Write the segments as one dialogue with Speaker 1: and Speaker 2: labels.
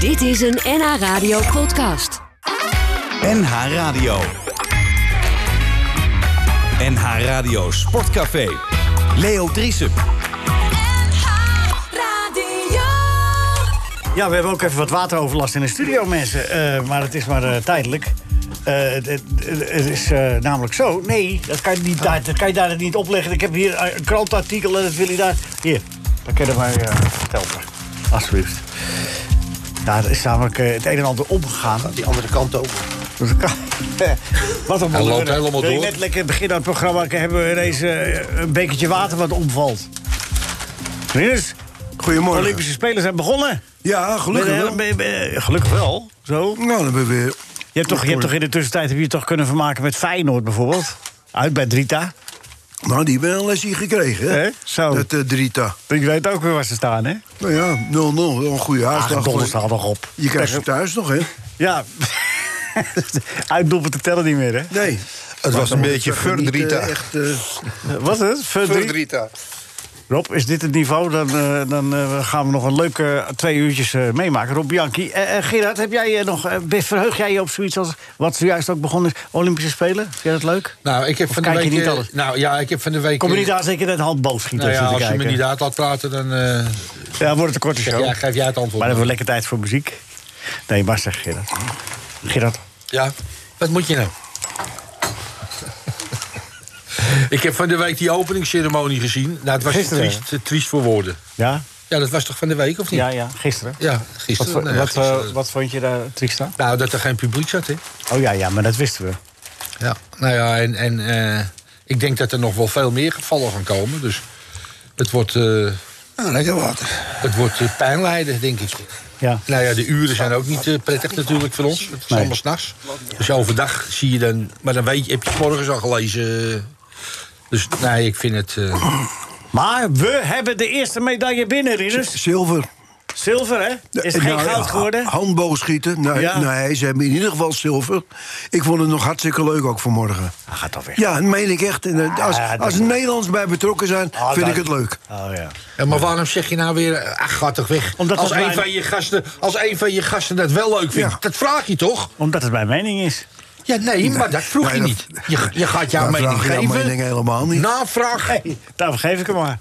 Speaker 1: Dit is een NH Radio podcast.
Speaker 2: NH Radio. NH Radio Sportcafé. Leo Driesen.
Speaker 3: Radio.
Speaker 4: Ja, we hebben ook even wat wateroverlast in de studio, mensen. Eh, maar het is maar eh, tijdelijk. Eh, het- het- het is eh, namelijk zo. Nee, dat kan, je niet, daar, dat kan je daar niet opleggen. Ik heb hier eh, een krantartikel en dat wil je daar. Hier, dat kunnen wij eh helpen. Alsjeblieft. Ja, er is namelijk eh, het een en ander omgegaan.
Speaker 5: Die andere kant ook.
Speaker 4: Dus dat kan- wat een
Speaker 5: Hij loopt
Speaker 4: wonder.
Speaker 5: helemaal
Speaker 4: Wil je
Speaker 5: door.
Speaker 4: Net lekker het begin aan het programma hebben we ineens eh, een bekertje water wat omvalt. Rinus, de
Speaker 6: Goedemorgen.
Speaker 4: Olympische Spelen zijn begonnen.
Speaker 6: Ja, gelukkig wel.
Speaker 4: Ben je- ben je- ben je- Gelukkig wel. Zo.
Speaker 6: Nou, dan hebben we weer...
Speaker 4: Je hebt, toch, je hebt toch in de tussentijd heb je toch kunnen vermaken met Feyenoord bijvoorbeeld? Uit bij Drita.
Speaker 6: Nou, die hebben een lesje gekregen, hè?
Speaker 4: Hè? Zo.
Speaker 6: Dat eh, Drita.
Speaker 4: Ik weet ook weer waar ze staan, hè?
Speaker 6: Nou ja, 0-0. wel Een goede
Speaker 4: Ach,
Speaker 6: uitslag.
Speaker 4: donder staat nog op.
Speaker 6: Je krijgt ze thuis nog, hè?
Speaker 4: Ja. Uitdoepen te tellen niet meer, hè?
Speaker 6: Nee.
Speaker 5: Het was een beetje
Speaker 6: Verdrita.
Speaker 5: verdrieta.
Speaker 6: Echt, eh,
Speaker 4: Wat is het? Verdriet.
Speaker 5: Verdrieta.
Speaker 4: Rob, is dit het niveau? Dan, eh, dan eh, gaan we nog een leuke twee uurtjes eh, meemaken. Rob Bianchi. Eh, eh, Gerard, heb jij eh, nog, eh, be- verheug jij je op zoiets als wat zojuist ook begonnen is? Olympische Spelen? Vind jij dat leuk?
Speaker 5: Nou, ik heb
Speaker 4: Of
Speaker 5: van de
Speaker 4: kijk
Speaker 5: week...
Speaker 4: je niet
Speaker 5: eh,
Speaker 4: alles?
Speaker 5: Nou ja, ik heb van de week...
Speaker 4: Kom je niet
Speaker 5: eh,
Speaker 4: aan zeker dat hand boogschieten
Speaker 5: Nou ja,
Speaker 4: zitten
Speaker 5: als je me
Speaker 4: kijken?
Speaker 5: niet uit laat praten, dan eh,
Speaker 4: Ja, wordt het een korte
Speaker 5: geef,
Speaker 4: show.
Speaker 5: jij, geef jij het antwoord.
Speaker 4: Maar dan hebben we lekker tijd voor muziek. Nee, maar zeg Gerard. Gerard.
Speaker 5: Ja, wat moet je nou? ik heb van de week die openingsceremonie gezien. Nou, het was
Speaker 4: Gisteren,
Speaker 5: triest, triest voor woorden.
Speaker 4: Ja?
Speaker 5: Ja, dat was toch van de week, of niet?
Speaker 4: Ja, ja, gisteren.
Speaker 5: Ja,
Speaker 4: Wat,
Speaker 5: gisteren.
Speaker 4: vo-
Speaker 5: nou ja,
Speaker 4: wat, eh,
Speaker 5: gisteren.
Speaker 4: wat vond je daar triest aan?
Speaker 5: Nou, dat er geen publiek zat, hè?
Speaker 4: Oh ja, ja, maar dat wisten we.
Speaker 5: Ja, nou ja, en, en eh, ik denk dat er nog wel veel meer gevallen gaan komen. Dus het wordt, eh,
Speaker 6: nou, lekker water.
Speaker 5: het wordt eh, pijnlijden, denk ik.
Speaker 4: Ja.
Speaker 5: Nou ja, de uren zijn ook niet eh, prettig natuurlijk voor ons. Het is
Speaker 4: Nee.
Speaker 5: allemaal s'nachts. Dus overdag zie je dan... Maar dan weet je, heb je 's morgens al gelezen. eh. Dus nee, ik vind het... eh,
Speaker 4: Maar we hebben de eerste medaille binnen, Ridders.
Speaker 6: Zilver.
Speaker 4: Zilver, hè? Dus Is het
Speaker 6: Eh,
Speaker 4: geen
Speaker 6: nou,
Speaker 4: goud geworden?
Speaker 6: ha-
Speaker 5: Ah,
Speaker 6: Handboogschieten. Nee,
Speaker 4: Ja.
Speaker 6: nee, ze hebben in ieder geval zilver. Ik vond het nog hartstikke leuk ook vanmorgen.
Speaker 4: Hij gaat toch weg.
Speaker 6: Ja, dat meen ik echt. En, eh, Als,
Speaker 4: Ah, dat
Speaker 6: als
Speaker 4: is-
Speaker 6: Nederlands bij betrokken zijn,
Speaker 4: Ah,
Speaker 6: vind ik
Speaker 4: dat-
Speaker 6: het leuk.
Speaker 4: Oh ja.
Speaker 5: ja, maar waarom zeg je nou weer... eh, Ach, ga toch weg.
Speaker 4: Omdat
Speaker 5: als,
Speaker 4: dat
Speaker 5: een
Speaker 4: mijn-
Speaker 5: van je gasten, als een van je gasten dat wel leuk vindt,
Speaker 6: Ja.
Speaker 5: dat vraag je toch?
Speaker 4: Omdat het mijn mening is.
Speaker 5: Ja, nee, maar dat vroeg
Speaker 6: Nee,
Speaker 5: je
Speaker 6: dat-
Speaker 5: niet. Je, je gaat jouw
Speaker 6: Daar
Speaker 5: mening
Speaker 6: vraag je jouw
Speaker 5: geven.
Speaker 6: mening helemaal niet.
Speaker 5: Navraag.
Speaker 4: Hey, daarom geef ik hem maar.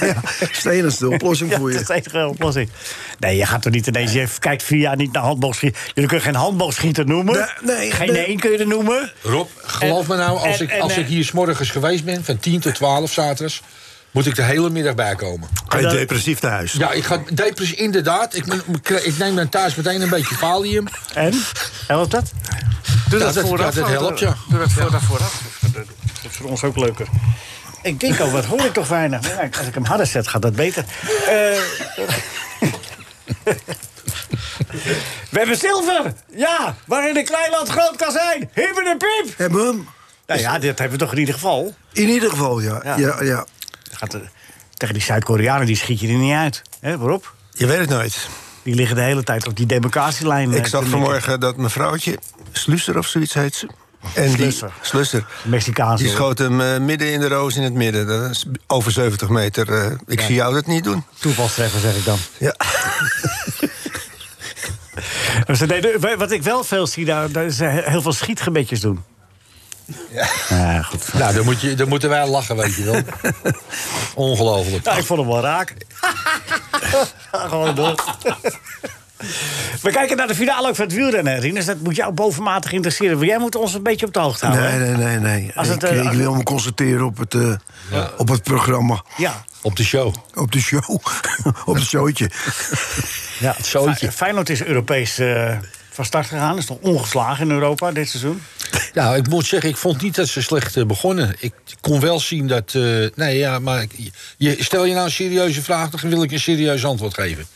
Speaker 6: Ja, steen is de oplossing
Speaker 4: Ja,
Speaker 6: voor
Speaker 4: dat is
Speaker 6: je.
Speaker 4: de enige oplossing. Nee, je gaat toch niet ineens... Je kijkt vier jaar niet naar handboogschieten. Jullie kunnen geen handboogschieter noemen.
Speaker 6: Nee, nee,
Speaker 4: geen
Speaker 6: nee.
Speaker 4: één kun je er noemen.
Speaker 5: Rob, geloof
Speaker 4: En-
Speaker 5: me nou, als,
Speaker 4: en-
Speaker 5: ik,
Speaker 4: en,
Speaker 5: als
Speaker 4: eh,
Speaker 5: ik hier s'morgens geweest ben, van 10 tot 12 zaterdags, moet ik de hele middag bijkomen.
Speaker 6: Ga
Speaker 4: je
Speaker 6: depressief naar huis?
Speaker 5: Ja, ik ga depressief, inderdaad. Ik, moet- ik neem dan thuis meteen een beetje valium.
Speaker 4: En? Helpt dat? Doe
Speaker 5: Ja, dat- ja, dat
Speaker 4: want,
Speaker 5: helpt,
Speaker 4: eh,
Speaker 5: ja.
Speaker 4: Doe dat voor, dat vooraf. Dat is voor ons ook leuker. Ik denk al, wat hoor ik toch weinig. Ja, Als ik hem harder zet, gaat dat beter. Eh, We hebben zilver! Ja, waarin een klein land groot kan zijn. Hieber de piep!
Speaker 6: Hebben we hem?
Speaker 4: Nou ja, dit hebben we toch in ieder geval.
Speaker 6: In ieder geval, ja.
Speaker 4: Ja.
Speaker 6: ja. ja,
Speaker 4: Dan Gaat de- tegen die Zuid-Koreanen die schiet je er niet uit. Hè, waarop?
Speaker 7: Je weet het nooit.
Speaker 4: Die liggen de hele tijd op die demarcatielijn. eh,
Speaker 7: Ik
Speaker 4: te
Speaker 7: zag
Speaker 4: mikken.
Speaker 7: vanmorgen dat mijn vrouwtje, Slusser of zoiets heet ze. En
Speaker 4: Slusser.
Speaker 7: Die, Slusser.
Speaker 4: Mexicaans.
Speaker 7: Die
Speaker 4: hoor.
Speaker 7: schoot hem eh, midden in de roos in het midden. Dat is over 70 meter. eh, ik zie jou dat niet doen.
Speaker 4: Toevalstreffer, zeg ik dan.
Speaker 7: Ja.
Speaker 4: Maar ze deden- wat ik wel veel zie, daar, daar is heel veel schietgebedjes doen. Ja, goed.
Speaker 5: Nou, dan, moet je, dan moeten wij lachen, weet je wel. Ongelooflijk.
Speaker 4: Nou, ik vond hem wel raak. Gewoon door. We kijken naar de finale ook van het wielrennen, Rinus. Dat moet jou bovenmatig interesseren. want Jij moet ons een beetje op de hoogte houden.
Speaker 6: Nee,
Speaker 4: Nou, hè?
Speaker 6: nee, nee. nee.
Speaker 4: Als het,
Speaker 6: ik,
Speaker 4: eh,
Speaker 6: ik
Speaker 4: als-
Speaker 6: wil me concentreren op het, eh, op het programma.
Speaker 4: Ja.
Speaker 5: Op de show.
Speaker 6: Op de show. op het showtje.
Speaker 4: ja.
Speaker 5: zootje.
Speaker 4: Fey- Feyenoord is Europees eh, van start gegaan. Is nog ongeslagen in Europa dit seizoen.
Speaker 5: Nou, ik moet zeggen, ik vond niet dat ze slecht eh, begonnen. Ik kon wel zien dat... eh, nee, ja, maar ik- je, stel je nou een serieuze vraag... dan wil ik een serieus antwoord geven.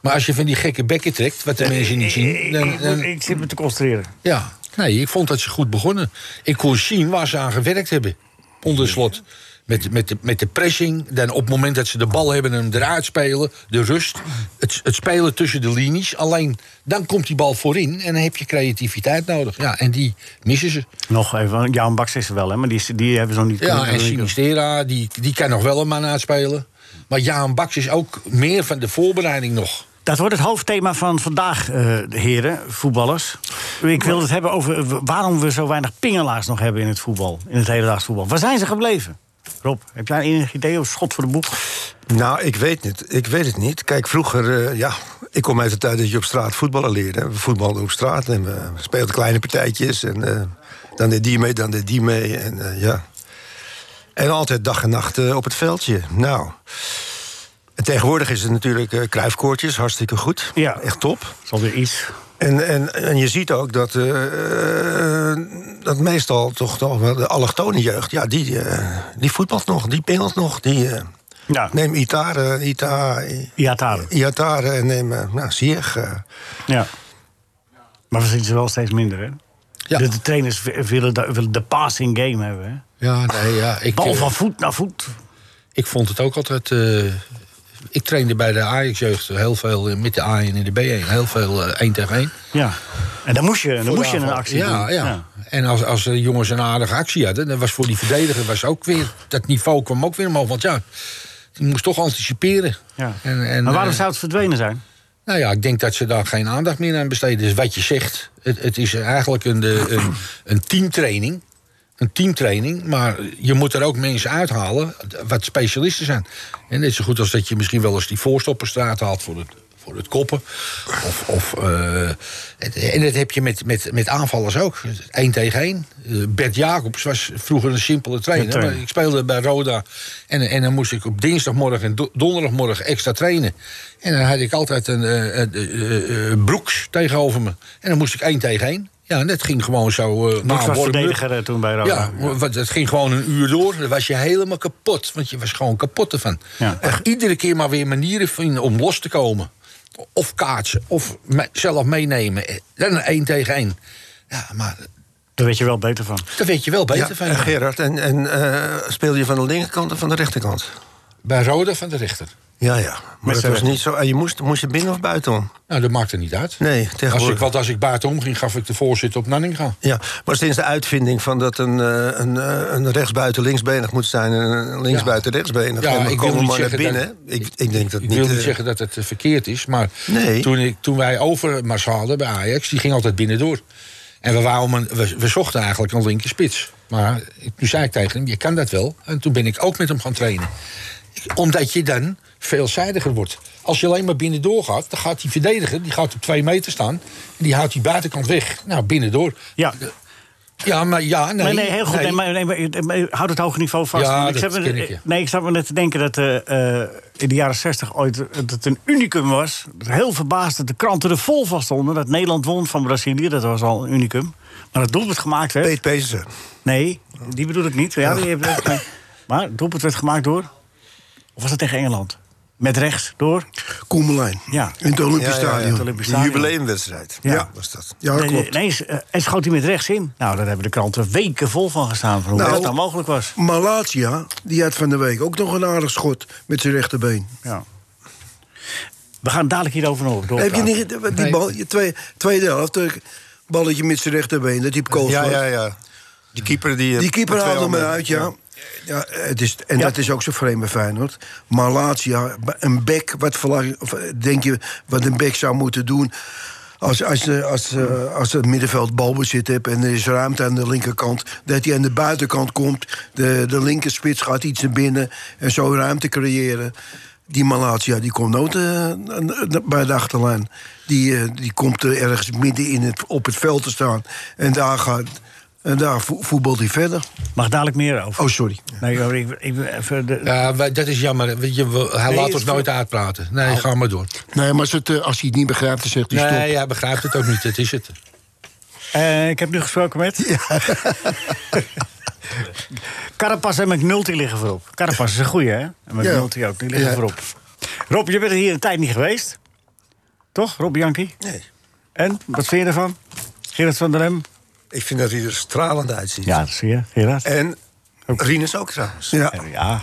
Speaker 5: Maar als je van die gekke bekken trekt, wat de mensen niet zien...
Speaker 4: Ik,
Speaker 5: Dan,
Speaker 4: ik-
Speaker 5: dan-
Speaker 4: ik zit me te concentreren.
Speaker 5: ja, nee, ik vond dat ze goed begonnen. Ik kon zien waar ze aan gewerkt hebben. Onder slot. Met, met, de, met de pressing, dan op het moment dat ze de bal hebben... en hem eruit spelen, de rust, het, het spelen tussen de linies. Alleen, dan komt die bal voorin en dan heb je creativiteit nodig. Ja, en die missen ze.
Speaker 4: Nog even, Jan Baks is er wel, hè, maar die, is- die hebben ze nog niet
Speaker 5: Ja, en
Speaker 4: kunnen-
Speaker 5: Sinistera, die, die kan nog wel een man uitspelen. Maar Jaan Baks is ook meer van de voorbereiding nog.
Speaker 4: Dat wordt het hoofdthema van vandaag, eh, heren, voetballers. Ik wil het hebben over eh, waarom we zo weinig pingelaars nog hebben in het voetbal. In het hedendaags voetbal. Waar zijn ze gebleven? Rob, heb jij enig idee of schot voor de boeg?
Speaker 7: Nou, ik weet het. Ik weet het niet. Kijk, vroeger, eh, ja, ik kom uit de tijd dat je op straat voetballen leerde. We voetbalden op straat en we speelden kleine partijtjes. En eh, dan deed die mee, dan deed die mee. En eh, ja. En altijd dag en nacht eh, op het veldje. Nou. En tegenwoordig is het natuurlijk eh kruifkoortjes, hartstikke goed.
Speaker 4: Ja.
Speaker 7: Echt top.
Speaker 4: Dat is alweer iets.
Speaker 7: En, en, en je ziet ook dat, eh, eh, dat meestal toch nog wel de allochtone jeugd... ja, die, eh, die voetbalt nog, die pingelt nog. Die, eh,
Speaker 4: Ja,
Speaker 7: neem Itare, Ita,
Speaker 4: Iataren.
Speaker 7: Iatare en neem eh, nou, Sieg. eh.
Speaker 4: Ja. Maar we zien ze wel steeds minder, hè?
Speaker 5: Ja.
Speaker 4: De, de trainers wi- willen de, willen de passing game hebben, hè?
Speaker 5: Ja, nee, ja. Ik,
Speaker 4: Bal
Speaker 5: eh,
Speaker 4: van voet naar voet.
Speaker 5: ik vond het ook altijd... eh, ik trainde bij de Ajax-jeugd heel veel eh, met de A1 en de B1. Heel veel eh, één tegen één.
Speaker 4: Ja. En dan moest je, dan moest je
Speaker 5: Vooraan
Speaker 4: een
Speaker 5: van-
Speaker 4: actie
Speaker 5: ja,
Speaker 4: doen.
Speaker 5: Ja. En als, als de jongens een aardige actie hadden, dan was voor die verdediger was ook weer, dat niveau kwam ook weer omhoog. Want ja, die moest toch anticiperen.
Speaker 4: Ja.
Speaker 5: En, en,
Speaker 4: maar waarom
Speaker 5: eh,
Speaker 4: zou het verdwenen zijn?
Speaker 5: nou ja, ik denk dat ze daar geen aandacht meer aan besteden. Dus wat je zegt, het, het is eigenlijk een, eh, een, een teamtraining. Een teamtraining, maar je moet er ook mensen uithalen wat specialisten zijn. En net zo goed als dat je misschien wel eens die voorstopper straat haalt voor het, voor het koppen. Of, of, eh, en- en dat heb je met, met, met aanvallers ook. Eén tegen één. Eh, Bert Jacobs was vroeger een simpele trainer.
Speaker 4: Ja, trainer.
Speaker 5: maar ik speelde bij Roda. En, en dan moest ik op dinsdagmorgen en do- donderdagmorgen extra trainen. En dan had ik altijd een eh, eh, eh, eh, Broeks tegenover me. En dan moest ik één tegen één. Ja, en dat ging gewoon zo. eh,
Speaker 4: Moet
Speaker 5: na
Speaker 4: was
Speaker 5: warm-up.
Speaker 4: verdediger eh, toen bij Roda.
Speaker 5: Ja, want het ging gewoon een uur door. Dan was je helemaal kapot. Want je was gewoon kapot ervan.
Speaker 4: Ja.
Speaker 5: En iedere keer maar weer manieren vinden om los te komen. Of kaatsen, of me- zelf meenemen. Eh, Dan een één tegen één. Ja, maar
Speaker 4: Daar weet je wel beter van.
Speaker 5: daar weet je wel beter
Speaker 7: Ja,
Speaker 5: van.
Speaker 7: en Gerard, en, en eh, speel je van de linkerkant of van de rechterkant?
Speaker 5: Bij Roda van de rechter.
Speaker 7: Ja, ja. Maar
Speaker 4: z'n
Speaker 7: dat was
Speaker 4: rechter.
Speaker 7: niet zo. En je moest, moest je binnen of buitenom?
Speaker 5: Nou, dat maakt er niet uit.
Speaker 7: Nee,
Speaker 5: Als ik,
Speaker 7: tegenwoordig.
Speaker 5: want als ik buitenom ging, gaf ik de voorzitter op Nanninga.
Speaker 7: Ja, maar sinds de uitvinding van dat een, eh, een, eh, een rechtsbuiten linksbenig moet zijn... en een linksbuiten rechtsbenig,
Speaker 5: Ja,
Speaker 7: en dan
Speaker 5: ik wil
Speaker 7: komen we
Speaker 5: niet
Speaker 7: maar naar
Speaker 5: zeggen
Speaker 7: binnen. ik, ik denk dat
Speaker 5: Ik
Speaker 7: niet...
Speaker 5: wil niet
Speaker 7: eh,
Speaker 5: zeggen dat het eh, verkeerd is, maar
Speaker 7: Nee.
Speaker 5: toen, ik, toen wij Overmars hadden bij Ajax, die ging altijd binnendoor. En we, wouden een- we, we zochten eigenlijk een linker spits. Maar ik- toen zei ik tegen hem, je kan dat wel. En toen ben ik ook met hem gaan trainen. Ik- Omdat je dan veelzijdiger wordt. Als je alleen maar binnendoor gaat, dan gaat die verdediger... die gaat op twee meter staan en die houdt die buitenkant weg. Nou, binnendoor.
Speaker 4: Ja,
Speaker 5: Ja, maar ja, nee.
Speaker 4: nee, nee, heel goed. Nee. maar, nee, maar, eh, maar houd het hoge niveau vast.
Speaker 5: Ja,
Speaker 4: want zat
Speaker 5: dat
Speaker 4: me-
Speaker 5: ken ik, ja.
Speaker 4: Nee, ik zat me net te denken dat eh, eh, in de jaren 60 ooit eh, dat het een unicum was. Dat Heel verbaasd dat de kranten er vol van stonden. Dat Nederland won van Brazilië, dat was al een unicum. Maar dat doelpunt gemaakt werd...
Speaker 7: Peet Pezen.
Speaker 4: Nee, die bedoel ik niet. Ja, die heb ik- nee. Maar het doelpunt werd gemaakt door... Of was dat tegen Engeland? Met rechts door...
Speaker 6: Koemelijn.
Speaker 4: Ja.
Speaker 6: In het
Speaker 7: Ja,
Speaker 6: Olympisch
Speaker 7: ja, ja,
Speaker 6: Stadion.
Speaker 4: het Olympisch
Speaker 7: de
Speaker 4: Stadion.
Speaker 7: jubileumwedstrijd.
Speaker 4: Ja.
Speaker 7: ja, was dat.
Speaker 6: Ja, dat
Speaker 4: Nee,
Speaker 6: klopt.
Speaker 4: ineens, eh, en schoot hij met rechts in. Nou, daar hebben de kranten weken vol van gestaan. Van hoe
Speaker 6: Nou.
Speaker 4: dat dan mogelijk was.
Speaker 6: Malatia, die had van de week ook nog een aardig schot met zijn rechterbeen.
Speaker 4: Ja. We gaan dadelijk hierover nog door.
Speaker 6: Heb je niet die bal, je twee, tweede helft, eh, balletje met zijn rechterbeen, dat die op kool
Speaker 7: Ja,
Speaker 6: sloot.
Speaker 7: ja, ja. Die keeper die... eh,
Speaker 6: Die keeper
Speaker 7: met twee
Speaker 6: haalde hem
Speaker 7: handen-
Speaker 6: eruit, ja. ja het is, en
Speaker 4: Ja.
Speaker 6: dat is ook zo vreemd bij Feyenoord. Malatia, een bek, wat verlang- of, eh, denk je wat een bek zou moeten doen... Als, als, eh, als, eh, als het middenveld balbezit hebt en er is ruimte aan de linkerkant... dat hij aan de buitenkant komt, de, de linkerspits gaat iets naar binnen... en zo ruimte creëren. Die Malatia, die komt nooit eh, bij de achterlijn. Die, eh, die komt er ergens midden in het, op het veld te staan. En daar, gaat, en daar vo- voetbalt hij verder.
Speaker 4: Mag dadelijk meer over.
Speaker 6: Oh, sorry.
Speaker 4: Nee, hoor, ik, ik, even de,
Speaker 5: Ja, wij- dat is jammer. Weet je, we- hij laat
Speaker 4: het
Speaker 5: ons
Speaker 4: is-
Speaker 5: nooit uitpraten. Nee, ga maar door.
Speaker 3: Nee, maar als, het, eh, als hij het niet begrijpt, dan zegt hij stop.
Speaker 5: Nee, hij begrijpt het ook niet. Dat is het.
Speaker 4: Eh, ik heb nu gesproken met... Carapas en McNulty liggen voorop. Carapas is een goeie, hè? En McNulty ook, die liggen
Speaker 6: Ja.
Speaker 4: voorop. Rob, je bent er hier een tijd niet geweest. Toch, Rob Bianchi?
Speaker 7: Nee.
Speaker 4: En, wat vind je ervan? Gerard van der Lem?
Speaker 7: Ik vind dat hij er stralend uitziet.
Speaker 4: dat zie je, Gerard.
Speaker 7: En Rinus ook trouwens.
Speaker 6: Ja,
Speaker 4: Ja.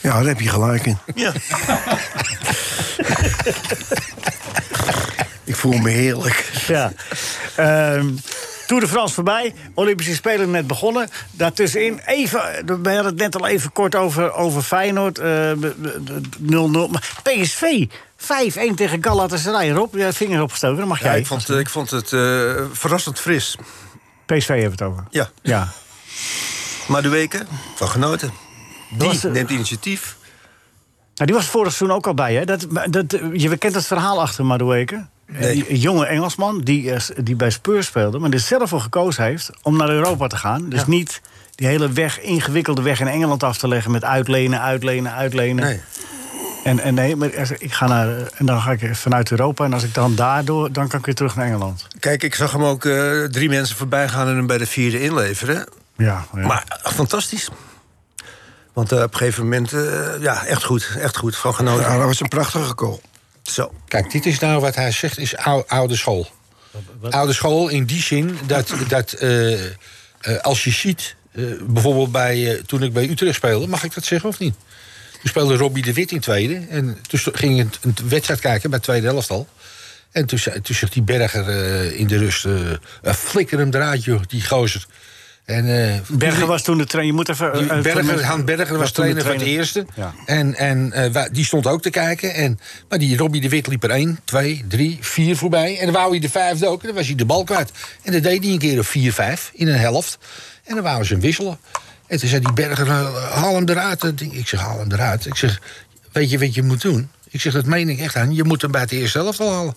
Speaker 6: ja, daar heb je gelijk in.
Speaker 7: Ja.
Speaker 6: Ik voel me heerlijk.
Speaker 4: ja. Ehm, Tour de France voorbij, Olympische Spelen net begonnen. Daartussenin even, we hadden het net al even kort over, over Feyenoord, eh, 0-0. maar PSV 5-1 tegen Galatasaray. Rob, jij vinger opgestoken, dan mag
Speaker 7: Ja,
Speaker 4: jij.
Speaker 7: ik, vond, ik vond het eh, verrassend fris.
Speaker 4: PSV hebben het over.
Speaker 7: Ja.
Speaker 4: Ja.
Speaker 7: Maar de weken van genoten.
Speaker 4: was,
Speaker 7: Die
Speaker 4: eh,
Speaker 7: neemt initiatief.
Speaker 4: Nou, die was vorig seizoen ook al bij. Hè? Dat, dat, je kent het verhaal achter Madueke. Die jonge Engelsman die, eh, s- die bij Spurs speelde... maar er zelf voor gekozen heeft om naar Europa te gaan. Dus niet die hele weg, ingewikkelde weg in Engeland af te leggen... met uitlenen, uitlenen, uitlenen.
Speaker 7: Nee.
Speaker 4: En, en nee, maar als- ik ga naar, eh, en dan ga ik vanuit Europa... en als ik dan daardoor, dan kan ik weer terug naar Engeland.
Speaker 7: Kijk, ik zag hem ook eh, drie mensen voorbij gaan en hem bij de vierde inleveren.
Speaker 4: Ja, ja.
Speaker 7: Maar eh, fantastisch. Want eh, op een gegeven moment, eh, ja, echt goed. Echt goed. Van genoten.
Speaker 6: Ja, dat was een prachtige goal.
Speaker 7: Zo.
Speaker 5: Kijk, dit is nou wat hij zegt, is ou- oude school. Oude school in die zin dat, dat eh, eh, als je ziet... eh, bijvoorbeeld bij, eh, toen ik bij Utrecht speelde, mag ik dat zeggen of niet? Toen speelde Robbie de Wit in tweede. En toen sto- ging ik een, een wedstrijd kijken bij tweede helft al. En toen, zei- toen zegt die Berger eh, in de rust... eh, eh, flikker hem eruit, joh, die gozer. En, eh,
Speaker 4: Berger was toen de trainer. Je moet even... eh,
Speaker 5: die
Speaker 4: eh, voor
Speaker 5: Berger,
Speaker 4: mensen-
Speaker 5: Han Berger was
Speaker 4: toen de
Speaker 5: trainer van het eerste.
Speaker 4: Ja.
Speaker 5: En, en eh, wa- die stond ook te kijken. En, maar die Robbie de Wit liep er 1, 2, 3, 4 voorbij. En dan wou hij de vijfde ook. En dan was hij de bal kwijt. En dat deed hij een keer of 4, 5 in een helft. En dan wouden ze hem wisselen. En toen zei die Berger, eh, haal hem eruit. Dat ding- Ik zeg, haal hem eruit. Ik zeg, weet je wat je moet doen? Ik zeg, dat meen ik echt aan. Je moet hem bij het eerste helft al halen.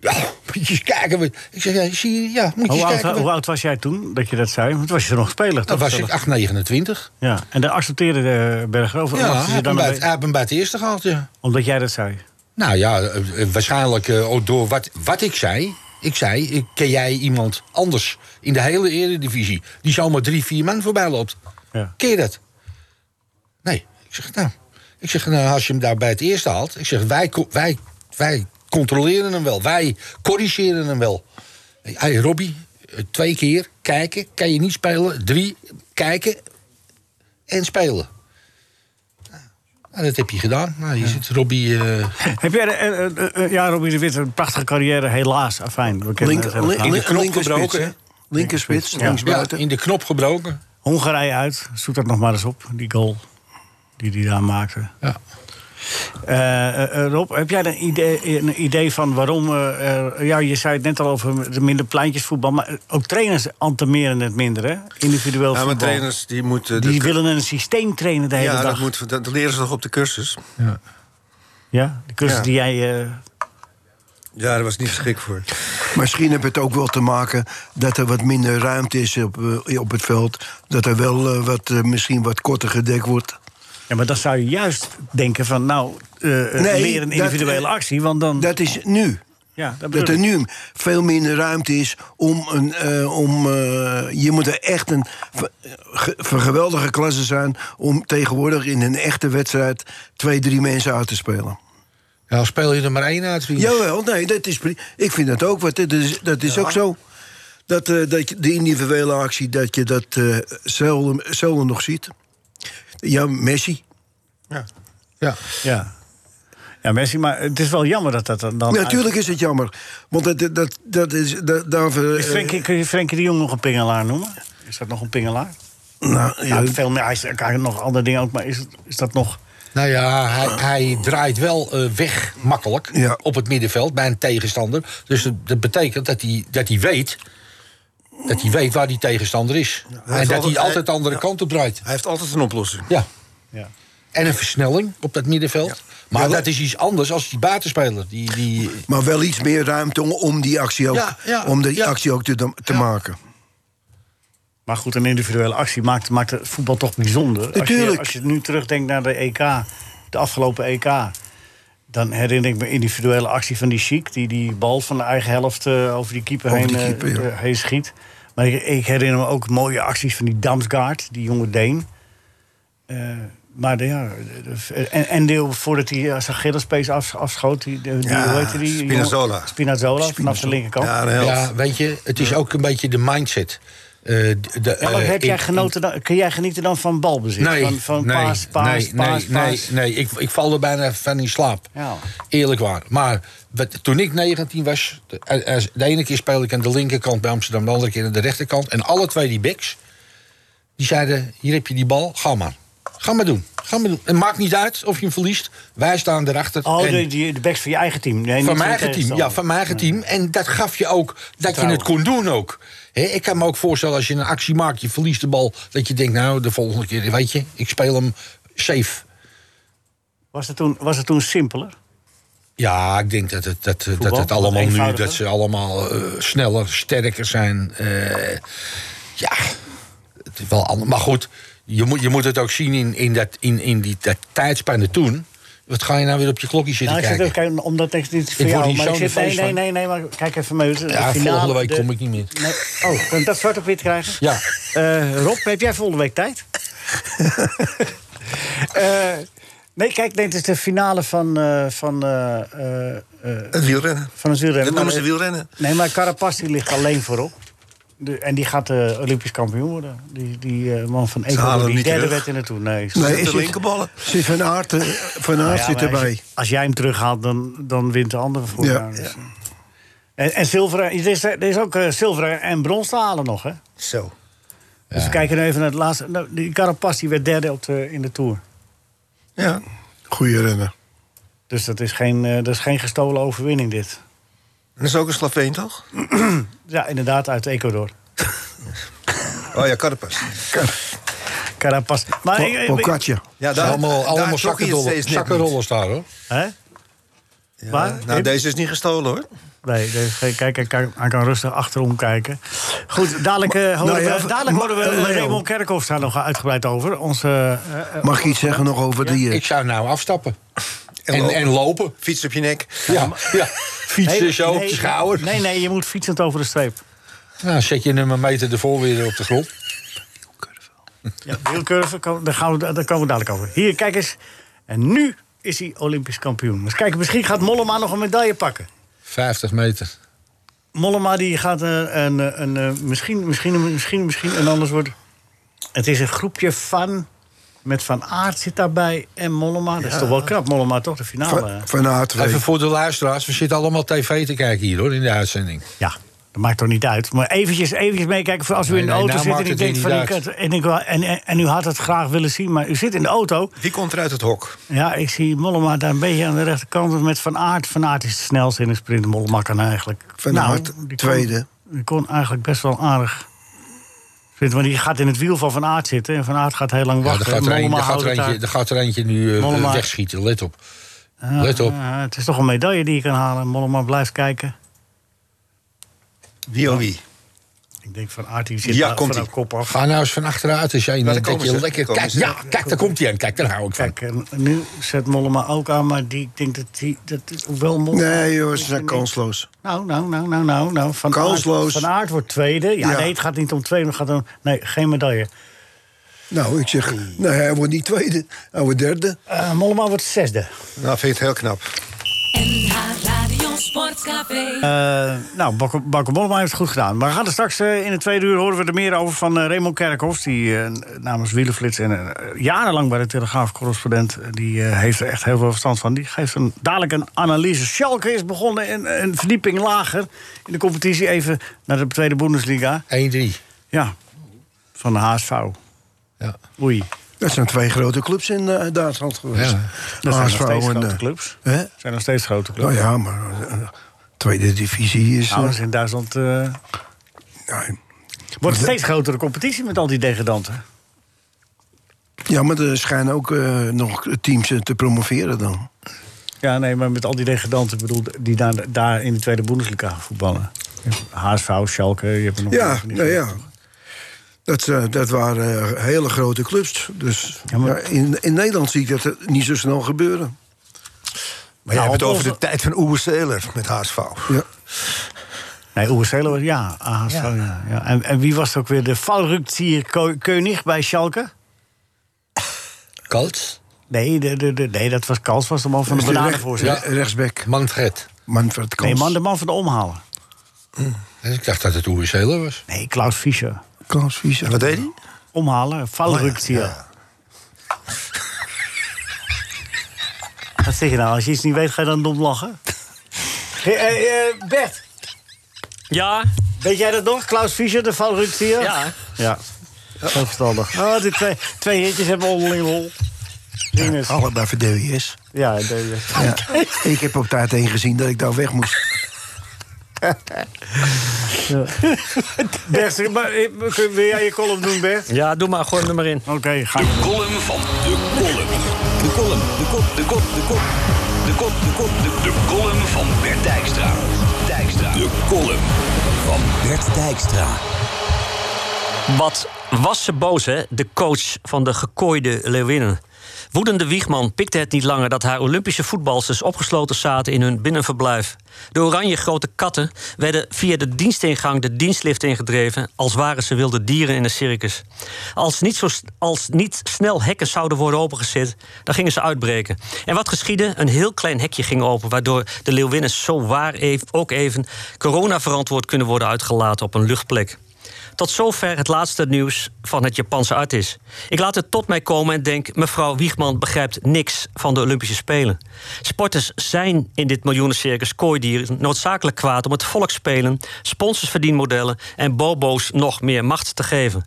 Speaker 5: Ja, moet je eens kijken. Ik zeg, ja, zie je, ja moet
Speaker 4: Hoe
Speaker 5: je eens
Speaker 4: oud,
Speaker 5: kijken.
Speaker 4: hoe oud was jij toen dat je dat zei? Want toen was je nog speler.
Speaker 5: Dat
Speaker 4: toch?
Speaker 5: was ik 8,29.
Speaker 4: Ja, en daar accepteerde de Berger over.
Speaker 5: Ja,
Speaker 4: omdat,
Speaker 5: hij
Speaker 4: ze
Speaker 5: heeft hem
Speaker 4: dan
Speaker 5: bij
Speaker 4: een
Speaker 5: het- hij heeft hem bij het eerste gehaald, ja.
Speaker 4: be- omdat jij dat zei.
Speaker 5: Nou ja, eh, eh, waarschijnlijk eh, ook door wat, wat ik zei. Ik zei, eh, ken jij iemand anders in de hele eredivisie... die zomaar drie, vier man voorbij loopt?
Speaker 4: Ja.
Speaker 5: Ken je dat? Nee. Ik zeg, nou, ik zeg, nou, als je hem daar bij het eerste haalt... ik zeg, wij, co- wij, wij controleren hem wel. Wij corrigeren hem wel. Hey, Robbie, eh, twee keer kijken. Kan je niet spelen. Drie, kijken en spelen. Nou, dat heb je gedaan. Nou, je zit Robbie... eh,
Speaker 4: Heb jij, de- eh, eh, eh, ja, Robbie de Wit, een prachtige carrière, helaas. Afijn, we kennen het
Speaker 6: Linker,
Speaker 4: hele
Speaker 6: link,
Speaker 4: verhaal.
Speaker 5: link-
Speaker 6: linker,
Speaker 5: knop
Speaker 6: linkerspits,
Speaker 5: gebroken,
Speaker 6: hè?
Speaker 5: hè?
Speaker 6: Linkerspits,
Speaker 4: Ja.
Speaker 6: linksbuiten.
Speaker 5: in de knop gebroken.
Speaker 4: Hongarije uit, zoek dat nog maar eens op, die goal die die daar maakte.
Speaker 5: Ja.
Speaker 4: Eh, eh, eh, Rob, heb jij een idee, een idee van waarom... eh, er- ja, je zei het net al over de minder pleintjesvoetbal... maar eh, ook trainers antemeren het minder, hè? Individueel
Speaker 7: Ja, maar
Speaker 4: voetbal.
Speaker 7: trainers die moeten.
Speaker 4: Die
Speaker 7: de-
Speaker 4: willen een systeem trainen de hele
Speaker 7: ja,
Speaker 4: dag.
Speaker 7: dat, moet, dat leren ze nog op de cursus.
Speaker 4: Ja, de cursus
Speaker 7: Ja.
Speaker 4: die jij... eh,
Speaker 7: Ja, daar was ik niet geschikt voor.
Speaker 6: Misschien heeft het ook wel te maken dat er wat minder ruimte is op, eh, op het veld. Dat er wel eh, wat, eh, misschien wat korter gedekt wordt.
Speaker 4: Ja, maar dan zou je juist denken van, nou, eh eh,
Speaker 6: Nee,
Speaker 4: weer een
Speaker 6: dat,
Speaker 4: individuele
Speaker 6: eh,
Speaker 4: actie, want dan...
Speaker 6: Dat is nu.
Speaker 4: ja, dat
Speaker 6: Dat
Speaker 4: bedoel
Speaker 6: er
Speaker 4: ik.
Speaker 6: nu veel minder ruimte is om een. eh, om, eh, je moet er echt een ver- ge- vergeweldige klasse zijn. om tegenwoordig in een echte wedstrijd. twee, drie mensen uit te spelen.
Speaker 5: Ja, dan speel je er maar één uit. vriend.
Speaker 6: Jawel, nee, dat is, pri- ik vind dat ook wat. Dat is, dat is ook zo. Dat, eh, dat je- de individuele actie, dat je dat eh, zelden, zelden nog ziet. Ja, Messi.
Speaker 5: Ja.
Speaker 4: Ja. ja, Messi, maar het is wel jammer dat dat dan... dan
Speaker 6: Ja, natuurlijk is het jammer. Want dat, dat, dat is. Dat, daarvoor,
Speaker 4: Is
Speaker 6: eh,
Speaker 4: Frenkie, kun je Frenkie de Jong nog een pingelaar noemen? Is dat nog een pingelaar?
Speaker 6: nou, ja,
Speaker 4: Ja, veel meer, hij is- hij kan nog andere dingen ook, maar is, het- is dat nog...
Speaker 5: Nou ja, hij, hij draait wel eh, weg makkelijk
Speaker 6: Ja.
Speaker 5: op het middenveld bij een tegenstander. Dus dat, dat betekent dat hij, dat hij weet. Dat hij weet waar die tegenstander is. en
Speaker 7: heeft
Speaker 5: dat
Speaker 7: altijd-
Speaker 5: hij altijd de andere
Speaker 7: ja.
Speaker 5: kant op draait.
Speaker 7: Hij heeft altijd een oplossing.
Speaker 5: Ja.
Speaker 4: Ja.
Speaker 5: En een versnelling op dat middenveld. Maar dat is iets anders als die buitenspeler. Die, die,
Speaker 6: Maar wel iets meer ruimte om, om die actie ook,
Speaker 5: Ja, ja,
Speaker 6: om die
Speaker 5: ja.
Speaker 6: actie ook te, te maken.
Speaker 4: Maar goed, een individuele actie maakt, maakt het voetbal toch bijzonder. Als je,
Speaker 6: Natuurlijk.
Speaker 4: als je nu terugdenkt naar de EK, de afgelopen EK... dan herinner ik me individuele actie van die Chic... die die bal van de eigen helft eh, over die keeper,
Speaker 6: Over
Speaker 4: heen,
Speaker 6: die
Speaker 4: eh,
Speaker 6: keeper, ja.
Speaker 4: eh, heen schiet. Maar ik, ik herinner me ook mooie acties van die Damsgaard, die jonge Deen... Eh, maar de, ja, de- de- en, en deel voordat hij eh, zijn Gillespace af, afschoot, die, de- die,
Speaker 7: Ja,
Speaker 4: hoe heette die?
Speaker 7: Spinazzola.
Speaker 4: jongen? Spinazzola, vanaf de linkerkant.
Speaker 7: Ja, de helft.
Speaker 5: ja, weet je, het is ook een beetje de mindset. Eh, de, de,
Speaker 4: Ja, maar
Speaker 5: eh,
Speaker 4: heb jij
Speaker 5: in-
Speaker 4: genoten dan, kun jij genieten dan van balbezit? van van
Speaker 5: nee,
Speaker 4: paas, paas,
Speaker 5: nee,
Speaker 4: paas,
Speaker 5: nee,
Speaker 4: paas.
Speaker 5: Nee, nee. Ik, ik val er bijna van in slaap.
Speaker 4: Ja.
Speaker 5: Eerlijk waar. Maar wat- toen ik 19 was, de, eh, eh, de ene keer speelde ik aan de linkerkant bij Amsterdam, de andere keer aan de rechterkant. En alle twee die backs, die zeiden, hier heb je die bal, ga maar. Ga maar doen. Ga maar doen. Het maakt niet uit of je hem verliest. Wij staan erachter.
Speaker 4: Oh,
Speaker 5: En
Speaker 4: de, die, de backs van je eigen team. Nee, niet
Speaker 5: van mijn
Speaker 4: de
Speaker 5: eigen team. Ja,
Speaker 4: tegenstander.
Speaker 5: van mijn eigen team. En dat gaf je ook dat je het kon doen ook. Hè, ik kan me ook voorstellen als je een actie maakt, je verliest de bal. Dat je denkt, nou, de volgende keer, weet je, ik speel hem safe.
Speaker 4: Was het toen, was het toen simpeler?
Speaker 5: Ja, ik denk dat het, dat, dat
Speaker 4: wat
Speaker 5: het allemaal nu,
Speaker 4: eenvoudiger.
Speaker 5: dat ze allemaal eh, sneller, sterker zijn. Eh, ja, het is wel anders. Maar goed, je moet, je moet het ook zien in, in, dat, in, in die, dat tijdspanne toen. Wat ga je nou weer op je klokje zitten
Speaker 4: Nou, ik zit
Speaker 5: kijken?
Speaker 4: ook kijken, omdat ik dit voor
Speaker 5: word
Speaker 4: jou...
Speaker 5: hier
Speaker 4: Maar ik
Speaker 5: zo'n
Speaker 4: zit, nee,
Speaker 5: feest
Speaker 4: nee,
Speaker 5: van.
Speaker 4: nee, nee, maar kijk even mee. De
Speaker 5: Ja,
Speaker 4: finale,
Speaker 5: volgende week
Speaker 4: de-
Speaker 5: kom ik niet meer.
Speaker 4: Nee. Oh, kan ik dat zwart op wit krijgen?
Speaker 5: Ja.
Speaker 4: Eh, Rob, heb jij volgende week tijd? Eh, nee, kijk, nee, het is de finale van, eh, van, eh, eh, eh,
Speaker 7: Het wielrennen.
Speaker 4: van het wielrennen.
Speaker 7: Dat noemen ze
Speaker 4: Maar, eh,
Speaker 7: wielrennen.
Speaker 4: Nee, maar Carapaz die ligt alleen voorop. De- en die gaat eh, Olympisch kampioen worden. Die, die eh, man van
Speaker 7: halen
Speaker 4: Ecuador,
Speaker 7: hem
Speaker 4: die
Speaker 7: niet
Speaker 4: derde
Speaker 7: terug.
Speaker 4: werd in het toernooi. Nee, Nou
Speaker 6: Nee,
Speaker 7: de
Speaker 6: is het-
Speaker 7: linkerballen.
Speaker 6: Zit van Aert, eh, van Aert
Speaker 4: Ja,
Speaker 6: zit
Speaker 4: maar als-
Speaker 6: erbij.
Speaker 4: Als jij hem terughaalt, dan, dan wint de ander voor
Speaker 6: Ja.
Speaker 4: jou. Dus, eh. En, en zilveren, er is, er is ook eh, zilveren en brons te halen nog, hè?
Speaker 7: Zo.
Speaker 4: Dus we kijken nu even naar het laatste. Nou, die Carapaz die werd derde op de, in de Tour.
Speaker 7: Ja.
Speaker 6: Goeie renner.
Speaker 4: Dus dat is, geen, eh, dat is geen gestolen overwinning, dit.
Speaker 7: Dat is ook een Slaveen, toch?
Speaker 4: Ja, inderdaad, uit Ecuador.
Speaker 7: Oh ja, Karpas.
Speaker 4: Carapaz. Maar, ik- ik-
Speaker 6: Pocaccia.
Speaker 7: Ja,
Speaker 5: allemaal allemaal
Speaker 7: trok hij het
Speaker 5: zakkenrollen,
Speaker 7: steeds net
Speaker 5: zakkenrollen staan hoor.
Speaker 4: hè?
Speaker 7: niet.
Speaker 4: Waar?
Speaker 7: Ja, nou, deze is niet gestolen, hoor.
Speaker 4: Nee, dus, eh, kijk, hij kan, hij kan rustig achterom kijken. Goed, dadelijk eh, horen
Speaker 6: nou ja,
Speaker 4: we, dadelijk
Speaker 6: maar-
Speaker 4: horen we
Speaker 6: eh, Leo.
Speaker 4: Raymond Kerkhoff daar nog uitgebreid over. Onze, eh, eh,
Speaker 6: Mag ik iets zeggen nog over die... eh,
Speaker 5: Ik zou nou afstappen. En,
Speaker 7: En
Speaker 5: en,
Speaker 7: lopen.
Speaker 5: lopen.
Speaker 7: Fiets op je nek.
Speaker 5: Ja, ja. fietsen
Speaker 4: nee,
Speaker 5: zo op
Speaker 4: nee,
Speaker 5: de schouder.
Speaker 4: Nee, nee, je moet fietsend over de streep.
Speaker 5: Nou, zet je nummer meter ervoor weer op de grond.
Speaker 4: Ja, wielcurve, kom- daar, gaan we, daar komen we dadelijk over. Hier, kijk eens. En nu is hij Olympisch kampioen. Dus kijk, misschien gaat Mollema nog een medaille pakken.
Speaker 5: 50 meter.
Speaker 4: Mollema die gaat een, een, eh, een, eh, misschien, misschien, misschien, misschien een anders worden. Het is een groepje van, met Van Aert zit daarbij en Mollema. Dat is toch wel knap, Mollema toch, de finale.
Speaker 6: Van, van Aert weet.
Speaker 5: Even voor de luisteraars, we zitten allemaal tv te kijken hier hoor, in de uitzending.
Speaker 4: Ja, dat maakt toch niet uit. Maar eventjes, eventjes meekijken voor als u
Speaker 5: Nee,
Speaker 4: in de
Speaker 5: nee,
Speaker 4: auto
Speaker 5: nou
Speaker 4: zit en
Speaker 5: maakt
Speaker 4: u
Speaker 5: het
Speaker 4: denkt
Speaker 5: weer
Speaker 4: van...
Speaker 5: niet
Speaker 4: Ik,
Speaker 5: uit.
Speaker 4: had- en, ik, wou- en, en, en u had het graag willen zien, maar u zit in de auto...
Speaker 7: Wie komt er uit het hok?
Speaker 4: Ja, ik zie Mollema daar een beetje aan de rechterkant met Van Aert. Van Aert is het snelste in een sprint. Mollema kan eigenlijk... Nou,
Speaker 6: Van Aert,
Speaker 4: die kon-
Speaker 6: tweede.
Speaker 4: Die kon eigenlijk best wel aardig. Vindt, want die gaat in het wiel van Van Aert zitten. En Van Aert gaat heel lang
Speaker 5: Ja, er
Speaker 4: wachten.
Speaker 5: gaat er, een,
Speaker 4: Mollema
Speaker 5: er, gaat
Speaker 4: houdt
Speaker 5: er,
Speaker 4: het
Speaker 5: eentje, er
Speaker 4: daar.
Speaker 5: gaat er eentje nu eh,
Speaker 4: Mollema.
Speaker 5: wegschieten, let op.
Speaker 7: Ah.
Speaker 5: Let op.
Speaker 4: Ja, het is toch een medaille die je kan halen. Mollema blijft kijken.
Speaker 7: Wie oh wie?
Speaker 4: Ik denk Van Aert die zit
Speaker 7: Ja,
Speaker 4: daar
Speaker 7: komt
Speaker 4: van
Speaker 7: ie.
Speaker 4: haar kop af.
Speaker 5: Ga nou eens van achteruit eens jij
Speaker 7: daar
Speaker 5: denkt dat
Speaker 7: komen
Speaker 5: je
Speaker 7: ze,
Speaker 5: lekker...
Speaker 7: daar komen
Speaker 5: Kijk,
Speaker 7: ze.
Speaker 5: ja, kijk, daar komt hij aan. Kijk, daar hou ik van.
Speaker 4: Kijk, en nu zet Mollema ook aan. Maar die, ik denk dat die... Dat, hoewel Mollema...
Speaker 6: Nee joh, ze zijn kansloos.
Speaker 4: Nou, nou, nou, nou, nou, nou. Van
Speaker 6: Kansloos.
Speaker 4: Aert, van Aert wordt tweede. Ja,
Speaker 6: Ja.
Speaker 4: nee, het gaat niet om tweede. Het gaat om, nee, geen medaille.
Speaker 6: Nou, ik zeg, nee, hij wordt niet tweede, hij wordt derde.
Speaker 4: Eh Mollema wordt zesde.
Speaker 7: Nou, vind ik het heel knap.
Speaker 1: NH Radio Sportcafé.
Speaker 4: Eh, nou, Bakker Bakker Mollema heeft het goed gedaan. Maar we gaan er straks eh, in de tweede uur horen we er meer over van eh, Raymond Kerkhoff. Die eh, namens Wielenflits en eh, jarenlang bij de Telegraaf correspondent. eh, die eh, heeft er echt heel veel verstand van. Die geeft een, dadelijk een analyse. Schalke is begonnen in een verdieping lager in de competitie. Even naar de tweede Bundesliga.
Speaker 5: 1-3.
Speaker 4: Ja, van de HSV.
Speaker 5: Ja.
Speaker 4: Oei.
Speaker 6: Dat zijn twee grote clubs in eh, Duitsland geweest.
Speaker 5: Ja.
Speaker 4: Dat zijn nog
Speaker 6: HSV
Speaker 4: steeds
Speaker 6: en,
Speaker 4: grote
Speaker 6: eh,
Speaker 4: clubs.
Speaker 6: Hè?
Speaker 4: zijn nog steeds grote clubs.
Speaker 6: Nou ja, maar eh, tweede divisie is...
Speaker 4: Nou,
Speaker 6: eh,
Speaker 4: dat is in Duitsland eh,
Speaker 6: nee.
Speaker 4: wordt het steeds grotere competitie met al die degradanten.
Speaker 6: Ja, maar er schijnen ook eh, nog teams eh, te promoveren dan.
Speaker 4: Ja, nee, maar met al die degradanten ik bedoel die daar, daar in de tweede Bundesliga voetballen. HSV, Schalke, je hebt er nog meer
Speaker 6: Ja,
Speaker 4: van die
Speaker 6: nou
Speaker 4: grote.
Speaker 6: ja. Dat, eh, dat waren eh, hele grote clubs. Dus
Speaker 4: Ja, maar-
Speaker 6: ja, in, in Nederland zie ik dat eh, niet zo snel gebeuren.
Speaker 7: Maar jij
Speaker 4: Nou,
Speaker 7: hebt het
Speaker 4: op
Speaker 7: over
Speaker 4: onze-
Speaker 7: de tijd van Oeber Seeler met HSV.
Speaker 6: Ja.
Speaker 4: Nee, Oerselo, ja, HSV, ja. ja, En, en wie was het ook weer de Valruktier König bij Schalke?
Speaker 5: Kalt.
Speaker 4: Nee, de, de, de- nee dat was Kals, was de man van de
Speaker 6: Dus
Speaker 4: bananenvoorzitter.
Speaker 6: recht- rechtsback,
Speaker 5: Manfred.
Speaker 6: Manfred Kans.
Speaker 4: Nee, man, de man van de omhalen.
Speaker 5: Dus ik dacht dat het Oerzeler was.
Speaker 4: Nee, Klaus Fischer.
Speaker 6: Klaus Vieser.
Speaker 7: En wat deed hij?
Speaker 4: Omhalen, valruktier. Wat zeg je nou? Als je iets niet weet, ga je dan dom lachen? eh, Bert,
Speaker 8: Ja,
Speaker 4: weet jij dat nog? Klaus Fischer, de valruktier?
Speaker 8: ja.
Speaker 4: ja.
Speaker 8: Heel verstandig.
Speaker 4: Oh, die twee, twee hitjes hebben onderling lol. Ines.
Speaker 6: Allebei voor DWS.
Speaker 8: Ja, deze.
Speaker 6: Ja. Ik heb op tijd één gezien dat ik daar weg moest.
Speaker 4: Bert, maar, eh, kun- wil jij je column doen, Bert?
Speaker 8: Ja, doe maar gewoon nummer in.
Speaker 4: Oké, ga je.
Speaker 2: Column van de kolom. De kolom, de kop, de kop, de kop. De kop, de kop, de De column van Bert Dijkstra. Dijkstra. De kolom van Bert Dijkstra.
Speaker 9: Wat was ze boos, hè? De coach van de gekooide Leeuwinnen. Woedende Wiegman pikte het niet langer dat haar Olympische voetbalsters opgesloten zaten in hun binnenverblijf. De oranje grote katten werden via de dienstingang de dienstlift ingedreven, als waren ze wilde dieren in een circus. Als niet, zo, s- als niet snel hekken zouden worden opengezet, dan gingen ze uitbreken. En wat geschiedde? Een heel klein hekje ging open, waardoor de Leeuwinnen zo waar ev- ook even corona-verantwoord kunnen worden uitgelaten op een luchtplek. Tot zover het laatste nieuws van het Japanse artis. Ik laat het tot mij komen en denk: mevrouw Wiegman begrijpt niks van de Olympische Spelen. Sporters zijn in dit miljoenencircus kooidieren noodzakelijk kwaad om het volk spelen, sponsors verdienmodellen en bobo's nog meer macht te geven.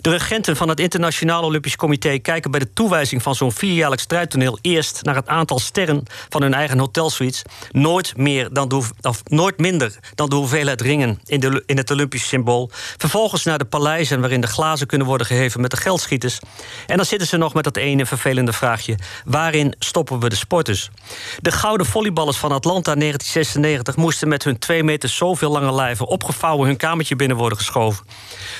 Speaker 9: De regenten van het Internationaal Olympisch Comité kijken bij de toewijzing van zo'n vierjaarlijks strijdtoneel eerst naar het aantal sterren van hun eigen hotelsuites, nooit, meer dan de, hoef- of nooit minder dan de hoeveelheid ringen in, de, in het Olympisch symbool. Vervolgens naar de paleizen waarin de glazen kunnen worden geheven met de geldschieters. En dan zitten ze nog met dat ene vervelende vraagje: waarin stoppen we de sporters? De gouden volleyballers van Atlanta 1996 moesten met hun twee meter zoveel lange lijven opgevouwen hun kamertje binnen worden geschoven.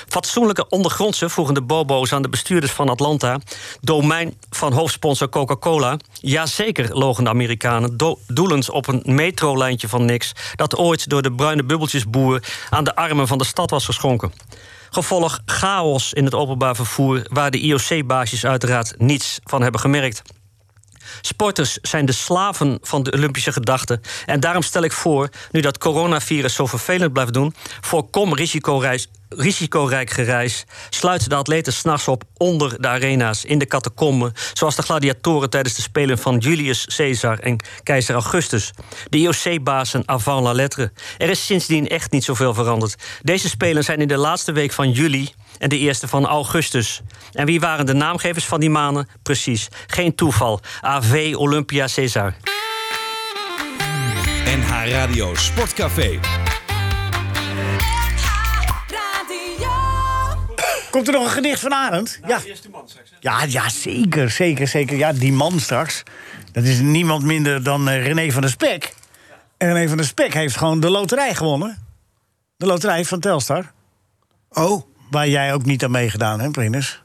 Speaker 9: Fatsoenlijke ondergrondse vroegen de Bobo's aan de bestuurders van Atlanta, domein van hoofdsponsor Coca-Cola. Jazeker, logen de Amerikanen, do- doelend op een metrolijntje van niks dat ooit door de bruine bubbeltjesboer aan de armen van de stad was geschonken. Gevolg chaos in het openbaar vervoer, waar de IOC-baasjes uiteraard niets van hebben gemerkt. Sporters zijn de slaven van de Olympische gedachte. En daarom stel ik voor, nu dat coronavirus zo vervelend blijft doen, voorkom risicoreis, risicorijk gereis. Sluit de atleten s'nachts op onder de arena's, in de catacomben, zoals de gladiatoren tijdens de spelen van Julius Caesar en keizer Augustus. De IOC-bazen avant la lettre. Er is sindsdien echt niet zoveel veranderd. Deze spelen zijn in de laatste week van juli en de eerste van augustus. En wie waren de naamgevers van die maanden? Precies, geen toeval. AV Olympia Caesar.
Speaker 2: NH Radio Sportcafé.
Speaker 1: Radio.
Speaker 4: Komt er nog een gedicht van Arend? ja. ja, ja, zeker, zeker, zeker. Ja, die man straks. Dat is niemand minder dan eh, René van der Spek. En René van der Spek heeft gewoon de loterij gewonnen. De loterij van Telstar.
Speaker 6: Oh,
Speaker 4: Waar jij ook niet aan meegedaan hebt, Rinus.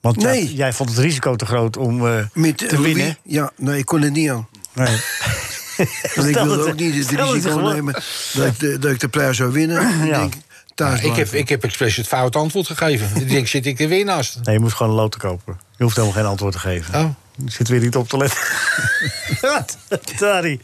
Speaker 4: Want ja,
Speaker 6: Nee.
Speaker 4: jij vond het risico te groot om eh,
Speaker 6: met
Speaker 4: te
Speaker 6: eh, Louis?
Speaker 4: winnen.
Speaker 6: Ja, nee, ik kon er niet aan.
Speaker 4: Nee.
Speaker 6: Want ik
Speaker 4: Dus Stel
Speaker 6: wilde
Speaker 4: het-
Speaker 6: ook niet het
Speaker 4: stel het
Speaker 6: risico
Speaker 4: gewoon.
Speaker 6: nemen dat ik, de, dat ik de prijs zou winnen.
Speaker 4: Ja.
Speaker 6: Ik denk, thuis
Speaker 5: Ik heb,
Speaker 6: blijven.
Speaker 5: ik heb expres het fout antwoord gegeven. ik denk, zit ik er weer naast?
Speaker 4: nee, je moet gewoon een loten kopen. Je hoeft helemaal geen antwoord te geven.
Speaker 5: Oh.
Speaker 4: Je zit weer niet op te letten. Wat? Sorry.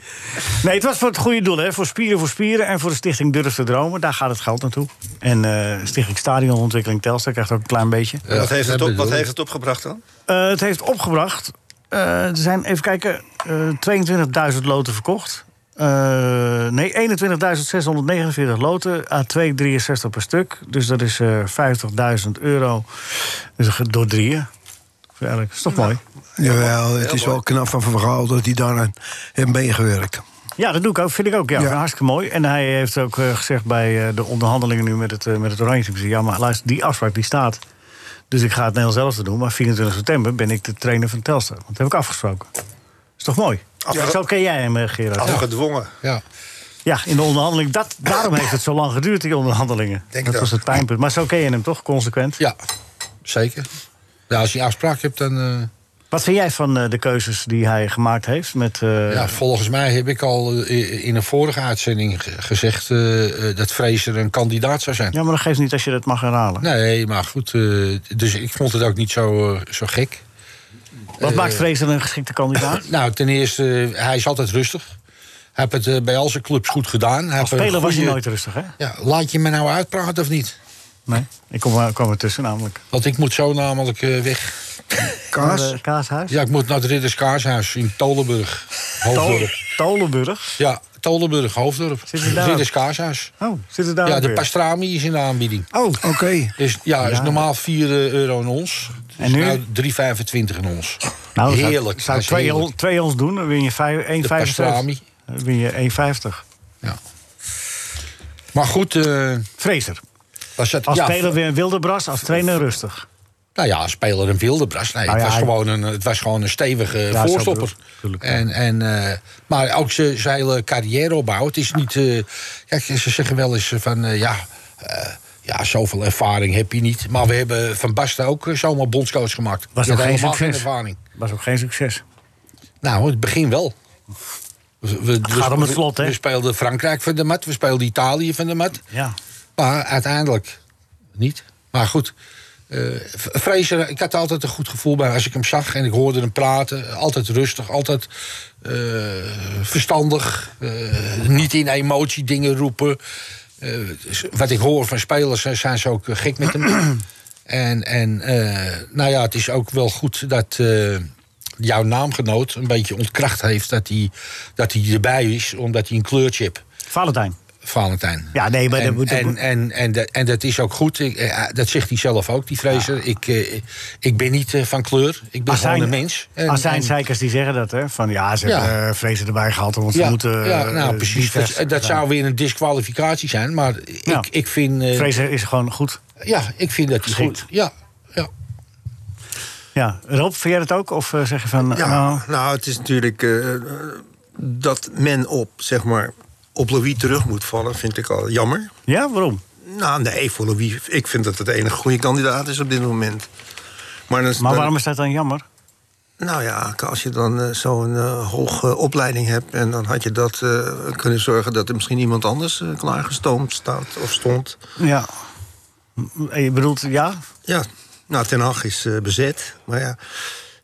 Speaker 4: Nee, het was voor het goede doel, hè? Voor Spieren voor Spieren en voor de Stichting Durf te Dromen. Daar gaat het geld naartoe. En eh, Stichting Stadionontwikkeling Telstar krijgt ook een klein beetje.
Speaker 7: Wat heeft het, op, wat
Speaker 5: bedoel
Speaker 7: heeft het opgebracht dan?
Speaker 4: Eh, het heeft opgebracht. eh, er zijn, even kijken, eh 22.000 loten verkocht. Eh, nee, 21.649 loten, A2 63 per stuk. Dus dat is eh 50.000 euro. Dus dat gaat door drieën. Eigenlijk, is toch mooi?
Speaker 6: Jawel, het is wel knap van Van Gaal dat hij daaraan heeft meegewerkt.
Speaker 4: Ja, dat doe ik ook, vind ik ook. Ja,
Speaker 6: Ja.
Speaker 4: hartstikke mooi. En hij heeft ook eh, gezegd bij eh, de onderhandelingen nu met het, eh, met het Oranje Team, Ja, maar luister, die afspraak die staat. Dus ik ga het Nederlands zelfs doen. Maar 24 september ben ik de trainer van Telstar. Want dat heb ik afgesproken. Is toch mooi? Zo ken jij hem, eh, Gerard. Ja.
Speaker 7: Afgedwongen.
Speaker 5: Ja.
Speaker 4: in de onderhandeling. Dat, daarom heeft het zo lang geduurd, die onderhandelingen.
Speaker 7: Denk
Speaker 4: dat
Speaker 7: het
Speaker 4: was
Speaker 7: ook.
Speaker 4: het pijnpunt. Maar zo ken je hem toch, consequent?
Speaker 5: ja, zeker. Ja, als je afspraak hebt, dan... eh,
Speaker 4: Wat vind jij van eh, de keuzes die hij gemaakt heeft? Met, eh,
Speaker 5: ja, volgens mij heb ik al eh, in een vorige uitzending ge- gezegd... eh, eh, dat Fraser een kandidaat zou zijn.
Speaker 4: ja, maar dat geeft niet als je dat mag herhalen.
Speaker 5: Nee, maar goed. eh, dus ik vond het ook niet zo, eh, zo gek.
Speaker 4: Wat maakt Fraser een geschikte kandidaat?
Speaker 5: Nou, ten eerste, eh, hij is altijd rustig. Hij heeft het eh, bij al zijn clubs goed gedaan. Hij
Speaker 4: Als
Speaker 5: heeft een
Speaker 4: speler was hij
Speaker 5: goede-
Speaker 4: nooit rustig, hè?
Speaker 5: Ja, laat je me nou uitpraten of niet?
Speaker 4: Nee, ik kom, er- kwam er tussen namelijk.
Speaker 5: Want ik moet zo namelijk eh, weg.
Speaker 4: Naar,
Speaker 6: Kaas,
Speaker 4: eh, Kaashuis?
Speaker 5: Ja, ik moet naar het Ridders Kaarshuis in Tolenburg. Hoofddorp.
Speaker 4: Tolenburg.
Speaker 5: Ja, Tolenburg, Hoofddorp.
Speaker 4: Zit het daar ook?
Speaker 5: Zit is Kaashuis.
Speaker 4: Oh, zit het daar
Speaker 5: ja,
Speaker 4: ook
Speaker 5: de
Speaker 4: weer?
Speaker 5: pastrami is in de aanbieding.
Speaker 4: Oh,
Speaker 6: Oké.
Speaker 5: Is, ja, is
Speaker 4: Ja.
Speaker 5: normaal 4 euro een ons.
Speaker 4: En nu?
Speaker 5: Nou, 3,25 een ons.
Speaker 4: nou, dan Zou,
Speaker 5: heerlijk.
Speaker 4: ik- zou ik
Speaker 5: dat is
Speaker 4: twee,
Speaker 5: heerlijk.
Speaker 4: on- twee ons doen, dan win je vijf- 1,55.
Speaker 5: pastrami.
Speaker 4: Dan win je 1,50.
Speaker 5: Ja. Maar goed, eh
Speaker 4: Vrezer.
Speaker 5: daar zat,
Speaker 4: Als
Speaker 5: ja,
Speaker 4: speler weer een wilde bras, als trainer rustig.
Speaker 5: Nou ja, speler een wilde bras. Nee,
Speaker 4: Nou ja,
Speaker 5: het, was
Speaker 4: hij-
Speaker 5: gewoon een, het was gewoon een stevige
Speaker 4: zo
Speaker 5: voorstopper.
Speaker 4: bedoel ik, tuurlijk, ja.
Speaker 5: en, en, eh, maar ook ze- zijn hele carrièreopbouw. Het is niet. eh, kijk, ze zeggen wel eens van eh, ja. eh, ja, zoveel ervaring heb je niet. Maar we hebben Van Basten ook eh, zomaar bondscoach gemaakt.
Speaker 4: Was
Speaker 5: Die
Speaker 4: nog geen
Speaker 5: had helemaal
Speaker 4: succes.
Speaker 5: geen ervaring.
Speaker 4: Was ook geen succes.
Speaker 5: Nou, in het begin wel. We, we, het
Speaker 4: gaat om het slot, hè?
Speaker 5: We speelden Frankrijk van de mat. We speelden Italië van de mat.
Speaker 4: Ja.
Speaker 5: Maar uiteindelijk niet. Maar goed, eh, V- Fraser, ik had er altijd een goed gevoel bij als ik hem zag en ik hoorde hem praten. Altijd rustig, altijd eh, verstandig. eh, niet in emotie dingen roepen. Eh, dus wat ik hoor van spelers, eh, zijn ze ook eh, gek met hem. en en eh, nou ja, het is ook wel goed dat. eh, Jouw naamgenoot een beetje ontkracht heeft dat hij, dat hij erbij is, omdat hij een kleurtje heeft.
Speaker 4: Valentijn.
Speaker 5: Valentijn.
Speaker 4: Ja, nee, maar
Speaker 5: en,
Speaker 4: dat moet- dat
Speaker 5: en,
Speaker 4: moet-
Speaker 5: en, en, dat- en dat is ook goed. Ik, eh, dat zegt hij zelf ook, die Fraser. Ik, eh, ik ben niet eh, van kleur. Ik ben gewoon een mens. En- en-
Speaker 4: Azijnzeikers die zeggen dat, hè? Van ja, ze hebben
Speaker 5: Ja.
Speaker 4: eh, vrezen erbij gehad, want ze
Speaker 5: ja,
Speaker 4: moeten.
Speaker 5: ja, nou,
Speaker 4: eh,
Speaker 5: precies.
Speaker 4: divers
Speaker 5: Dat, dat
Speaker 4: zijn.
Speaker 5: zou weer een disqualificatie zijn. Maar
Speaker 4: Ja.
Speaker 5: ik, ik, vind, eh,
Speaker 4: Vrezen is gewoon goed.
Speaker 5: ja, ik vind dat hij
Speaker 4: Geschikt.
Speaker 5: goed... Ja, ja. Nou,
Speaker 4: Ja. Rob, vind jij dat ook? Of eh, zeg je van.
Speaker 7: Ja,
Speaker 4: nou,
Speaker 7: nou, het is natuurlijk eh, dat men op, zeg maar, op Louis terug moet vallen, vind ik al jammer.
Speaker 4: ja waarom?
Speaker 7: Nou, nee, voor Louis, ik vind dat het de enige goede kandidaat is op dit moment. Maar, dan,
Speaker 4: Maar
Speaker 7: dan-
Speaker 4: waarom is dat dan jammer?
Speaker 7: Nou ja, als je dan eh, zo'n eh, hoge opleiding hebt... en dan had je dat eh, kunnen zorgen dat er misschien iemand anders eh, klaargestoomd staat of stond.
Speaker 4: Ja. M- Je bedoelt, ja?
Speaker 7: Ja, nou, Ten Hag is eh, bezet, maar ja...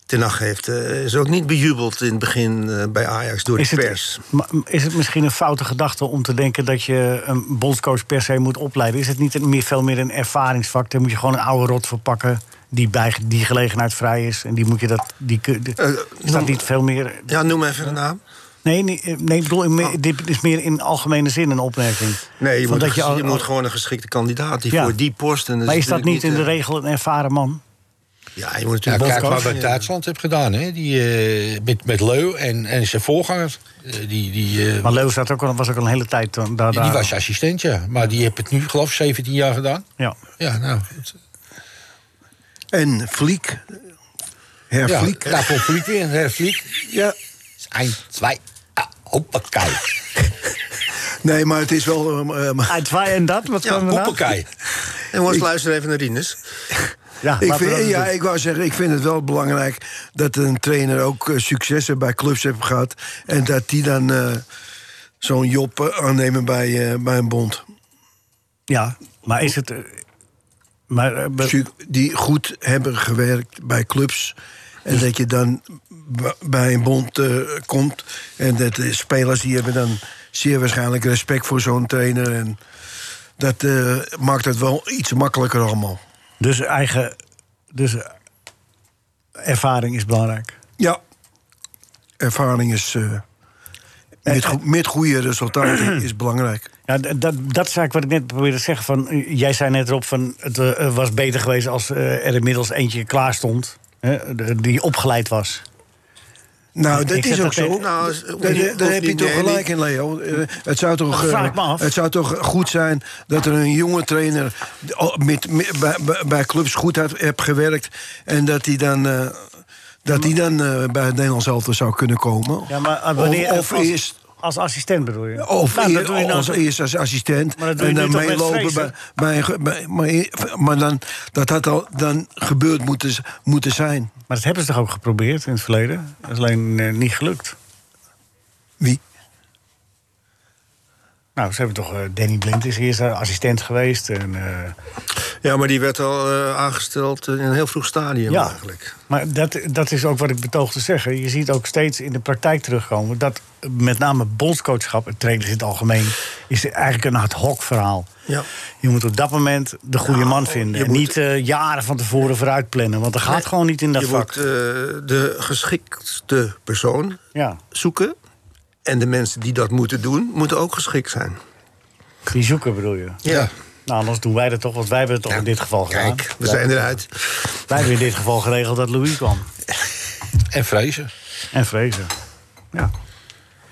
Speaker 7: Ten Hag heeft, eh, is ook niet bejubeld in het begin eh, bij Ajax door
Speaker 4: Is
Speaker 7: de
Speaker 4: het-
Speaker 7: pers.
Speaker 4: Maar is het misschien een foute gedachte om te denken dat je een bondscoach per se moet opleiden? Is het niet een, meer, veel meer een ervaringsvak? Daar moet je gewoon een oude rot voor pakken die bij die gelegenheid vrij is. En die moet je dat. Die, kun- de-
Speaker 7: Eh,
Speaker 4: is dat
Speaker 7: noem-
Speaker 4: niet veel meer.
Speaker 7: Ja, noem even de naam.
Speaker 4: Nee, nee, eh, nee ik bedoel, in me- dit is meer in algemene zin een opmerking.
Speaker 7: Ah. Nee, je,
Speaker 4: Van
Speaker 7: moet,
Speaker 4: dat
Speaker 7: een
Speaker 4: je
Speaker 7: ges-
Speaker 4: al-
Speaker 7: je moet gewoon een geschikte kandidaat die
Speaker 4: Ja.
Speaker 7: voor die post... En
Speaker 4: Maar is dat niet
Speaker 7: natuurlijk
Speaker 4: in de
Speaker 7: eh,
Speaker 4: regel een ervaren man?
Speaker 7: Ja, je moet
Speaker 5: Ja,
Speaker 7: natuurlijk
Speaker 5: kijk maar
Speaker 7: bondscoach-
Speaker 5: wat Duitsland heeft gedaan. Hè. Die, eh, met, met Leu en, en zijn voorganger. Eh, die, die, eh,
Speaker 4: Maar Leo zat ook al, was ook al een hele tijd eh, daar.
Speaker 5: die
Speaker 4: daar-
Speaker 5: was assistent, ja. Maar die heeft het nu, geloof ik, 17 jaar gedaan.
Speaker 4: Ja.
Speaker 5: Ja, nou... goed.
Speaker 6: En Vliek. Her
Speaker 5: Ja,
Speaker 6: Vliek.
Speaker 5: daar komt Fliek weer. Her Fliek.
Speaker 6: Ja.
Speaker 5: Eén, twee. Ah, hoppakee.
Speaker 6: Nee, maar het is wel... eh, eh, maar-
Speaker 4: Uit wij Ah, en dat, wat
Speaker 7: Ja,
Speaker 4: kwam erna?
Speaker 5: Hoppakee.
Speaker 7: En jongens, luister even naar Rinus.
Speaker 4: Ja, laten we
Speaker 6: Ik
Speaker 4: dus-
Speaker 6: vind,
Speaker 4: dat
Speaker 6: ja,
Speaker 4: doen.
Speaker 6: ik wou zeggen, ik vind het wel belangrijk dat een trainer ook eh, successen bij clubs heeft gehad. En dat die dan eh, zo'n job eh, aannemen bij, eh, bij een bond.
Speaker 4: ja, maar is het. eh, Maar, eh, be-
Speaker 6: Su- Die goed hebben gewerkt bij clubs. En dat je dan b- bij een bond eh, komt. En dat de spelers die hebben dan zeer waarschijnlijk respect voor zo'n trainer. En dat eh, maakt het wel iets makkelijker allemaal.
Speaker 4: dus eigen. Dus eh, ervaring is belangrijk.
Speaker 6: Ja. Ervaring is. eh, met, go- met goede resultaten is belangrijk.
Speaker 4: Ja, d- dat, dat is eigenlijk wat ik net probeerde te zeggen. Van, eh, jij zei net erop van het eh, was beter geweest als eh, er inmiddels eentje klaar stond. Hè, de- die opgeleid was.
Speaker 6: Nou,
Speaker 4: Ik
Speaker 6: dat
Speaker 4: zeg
Speaker 6: is
Speaker 4: dat
Speaker 6: ook zo.
Speaker 4: tegen-
Speaker 7: Nou,
Speaker 6: Daar, daar- daar heb je toch gelijk in, Leo. Eh, Het zou toch,
Speaker 4: Dat Oh, vraag
Speaker 6: eh,
Speaker 4: ik me af.
Speaker 6: het zou toch goed zijn dat er een jonge trainer al- met, met- bij, bij- bij clubs goed had, heeft gewerkt. En dat hij dan, eh, dat die dan eh, bij het Nederlands elftal zou kunnen komen.
Speaker 4: Ja, maar eh, wanneer,
Speaker 6: of, of
Speaker 4: als,
Speaker 6: eerst.
Speaker 4: als assistent bedoel je?
Speaker 6: Of
Speaker 4: Nou,
Speaker 6: eer-
Speaker 4: dat doe je nou
Speaker 6: als
Speaker 4: zo-
Speaker 6: eerst als assistent.
Speaker 4: Maar dat doe je
Speaker 6: en dan
Speaker 4: nu toch met
Speaker 6: meelopen bij,
Speaker 4: Vrezen?
Speaker 6: bij, een ge- bij- maar, eer- maar dan, dat had al dan gebeurd moeten, z- moeten zijn.
Speaker 4: Maar dat hebben ze toch ook geprobeerd in het verleden? Dat is alleen eh, niet gelukt.
Speaker 6: Wie?
Speaker 4: Nou, ze hebben toch... eh, Danny Blind is eerst eh, assistent geweest. En, eh,
Speaker 7: Ja, maar die werd al eh, aangesteld in een heel vroeg stadium
Speaker 4: ja,
Speaker 7: eigenlijk.
Speaker 4: maar dat, dat is ook wat ik betoog te zeggen. Je ziet ook steeds in de praktijk terugkomen... dat eh, met name bondscoachschap, en trainers in het algemeen... is eigenlijk een ad hoc verhaal.
Speaker 7: Ja. oh,
Speaker 4: Je moet op dat moment de goede man vinden.
Speaker 7: je
Speaker 4: En
Speaker 7: moet-
Speaker 4: niet eh, jaren van tevoren vooruit plannen. Want dat gaat gewoon niet in dat
Speaker 7: Je
Speaker 4: vak.
Speaker 7: moet eh, de geschiktste persoon
Speaker 4: Ja.
Speaker 7: zoeken. En de mensen die dat moeten doen, moeten ook geschikt zijn.
Speaker 4: Die zoeken bedoel je?
Speaker 7: Ja.
Speaker 4: Nou, anders doen wij dat toch, want wij hebben het toch in dit geval gedaan.
Speaker 7: Kijk, we zijn eruit.
Speaker 4: Wij hebben in dit geval geregeld dat Louis kwam.
Speaker 5: En vrezen.
Speaker 4: En vrezen. Ja.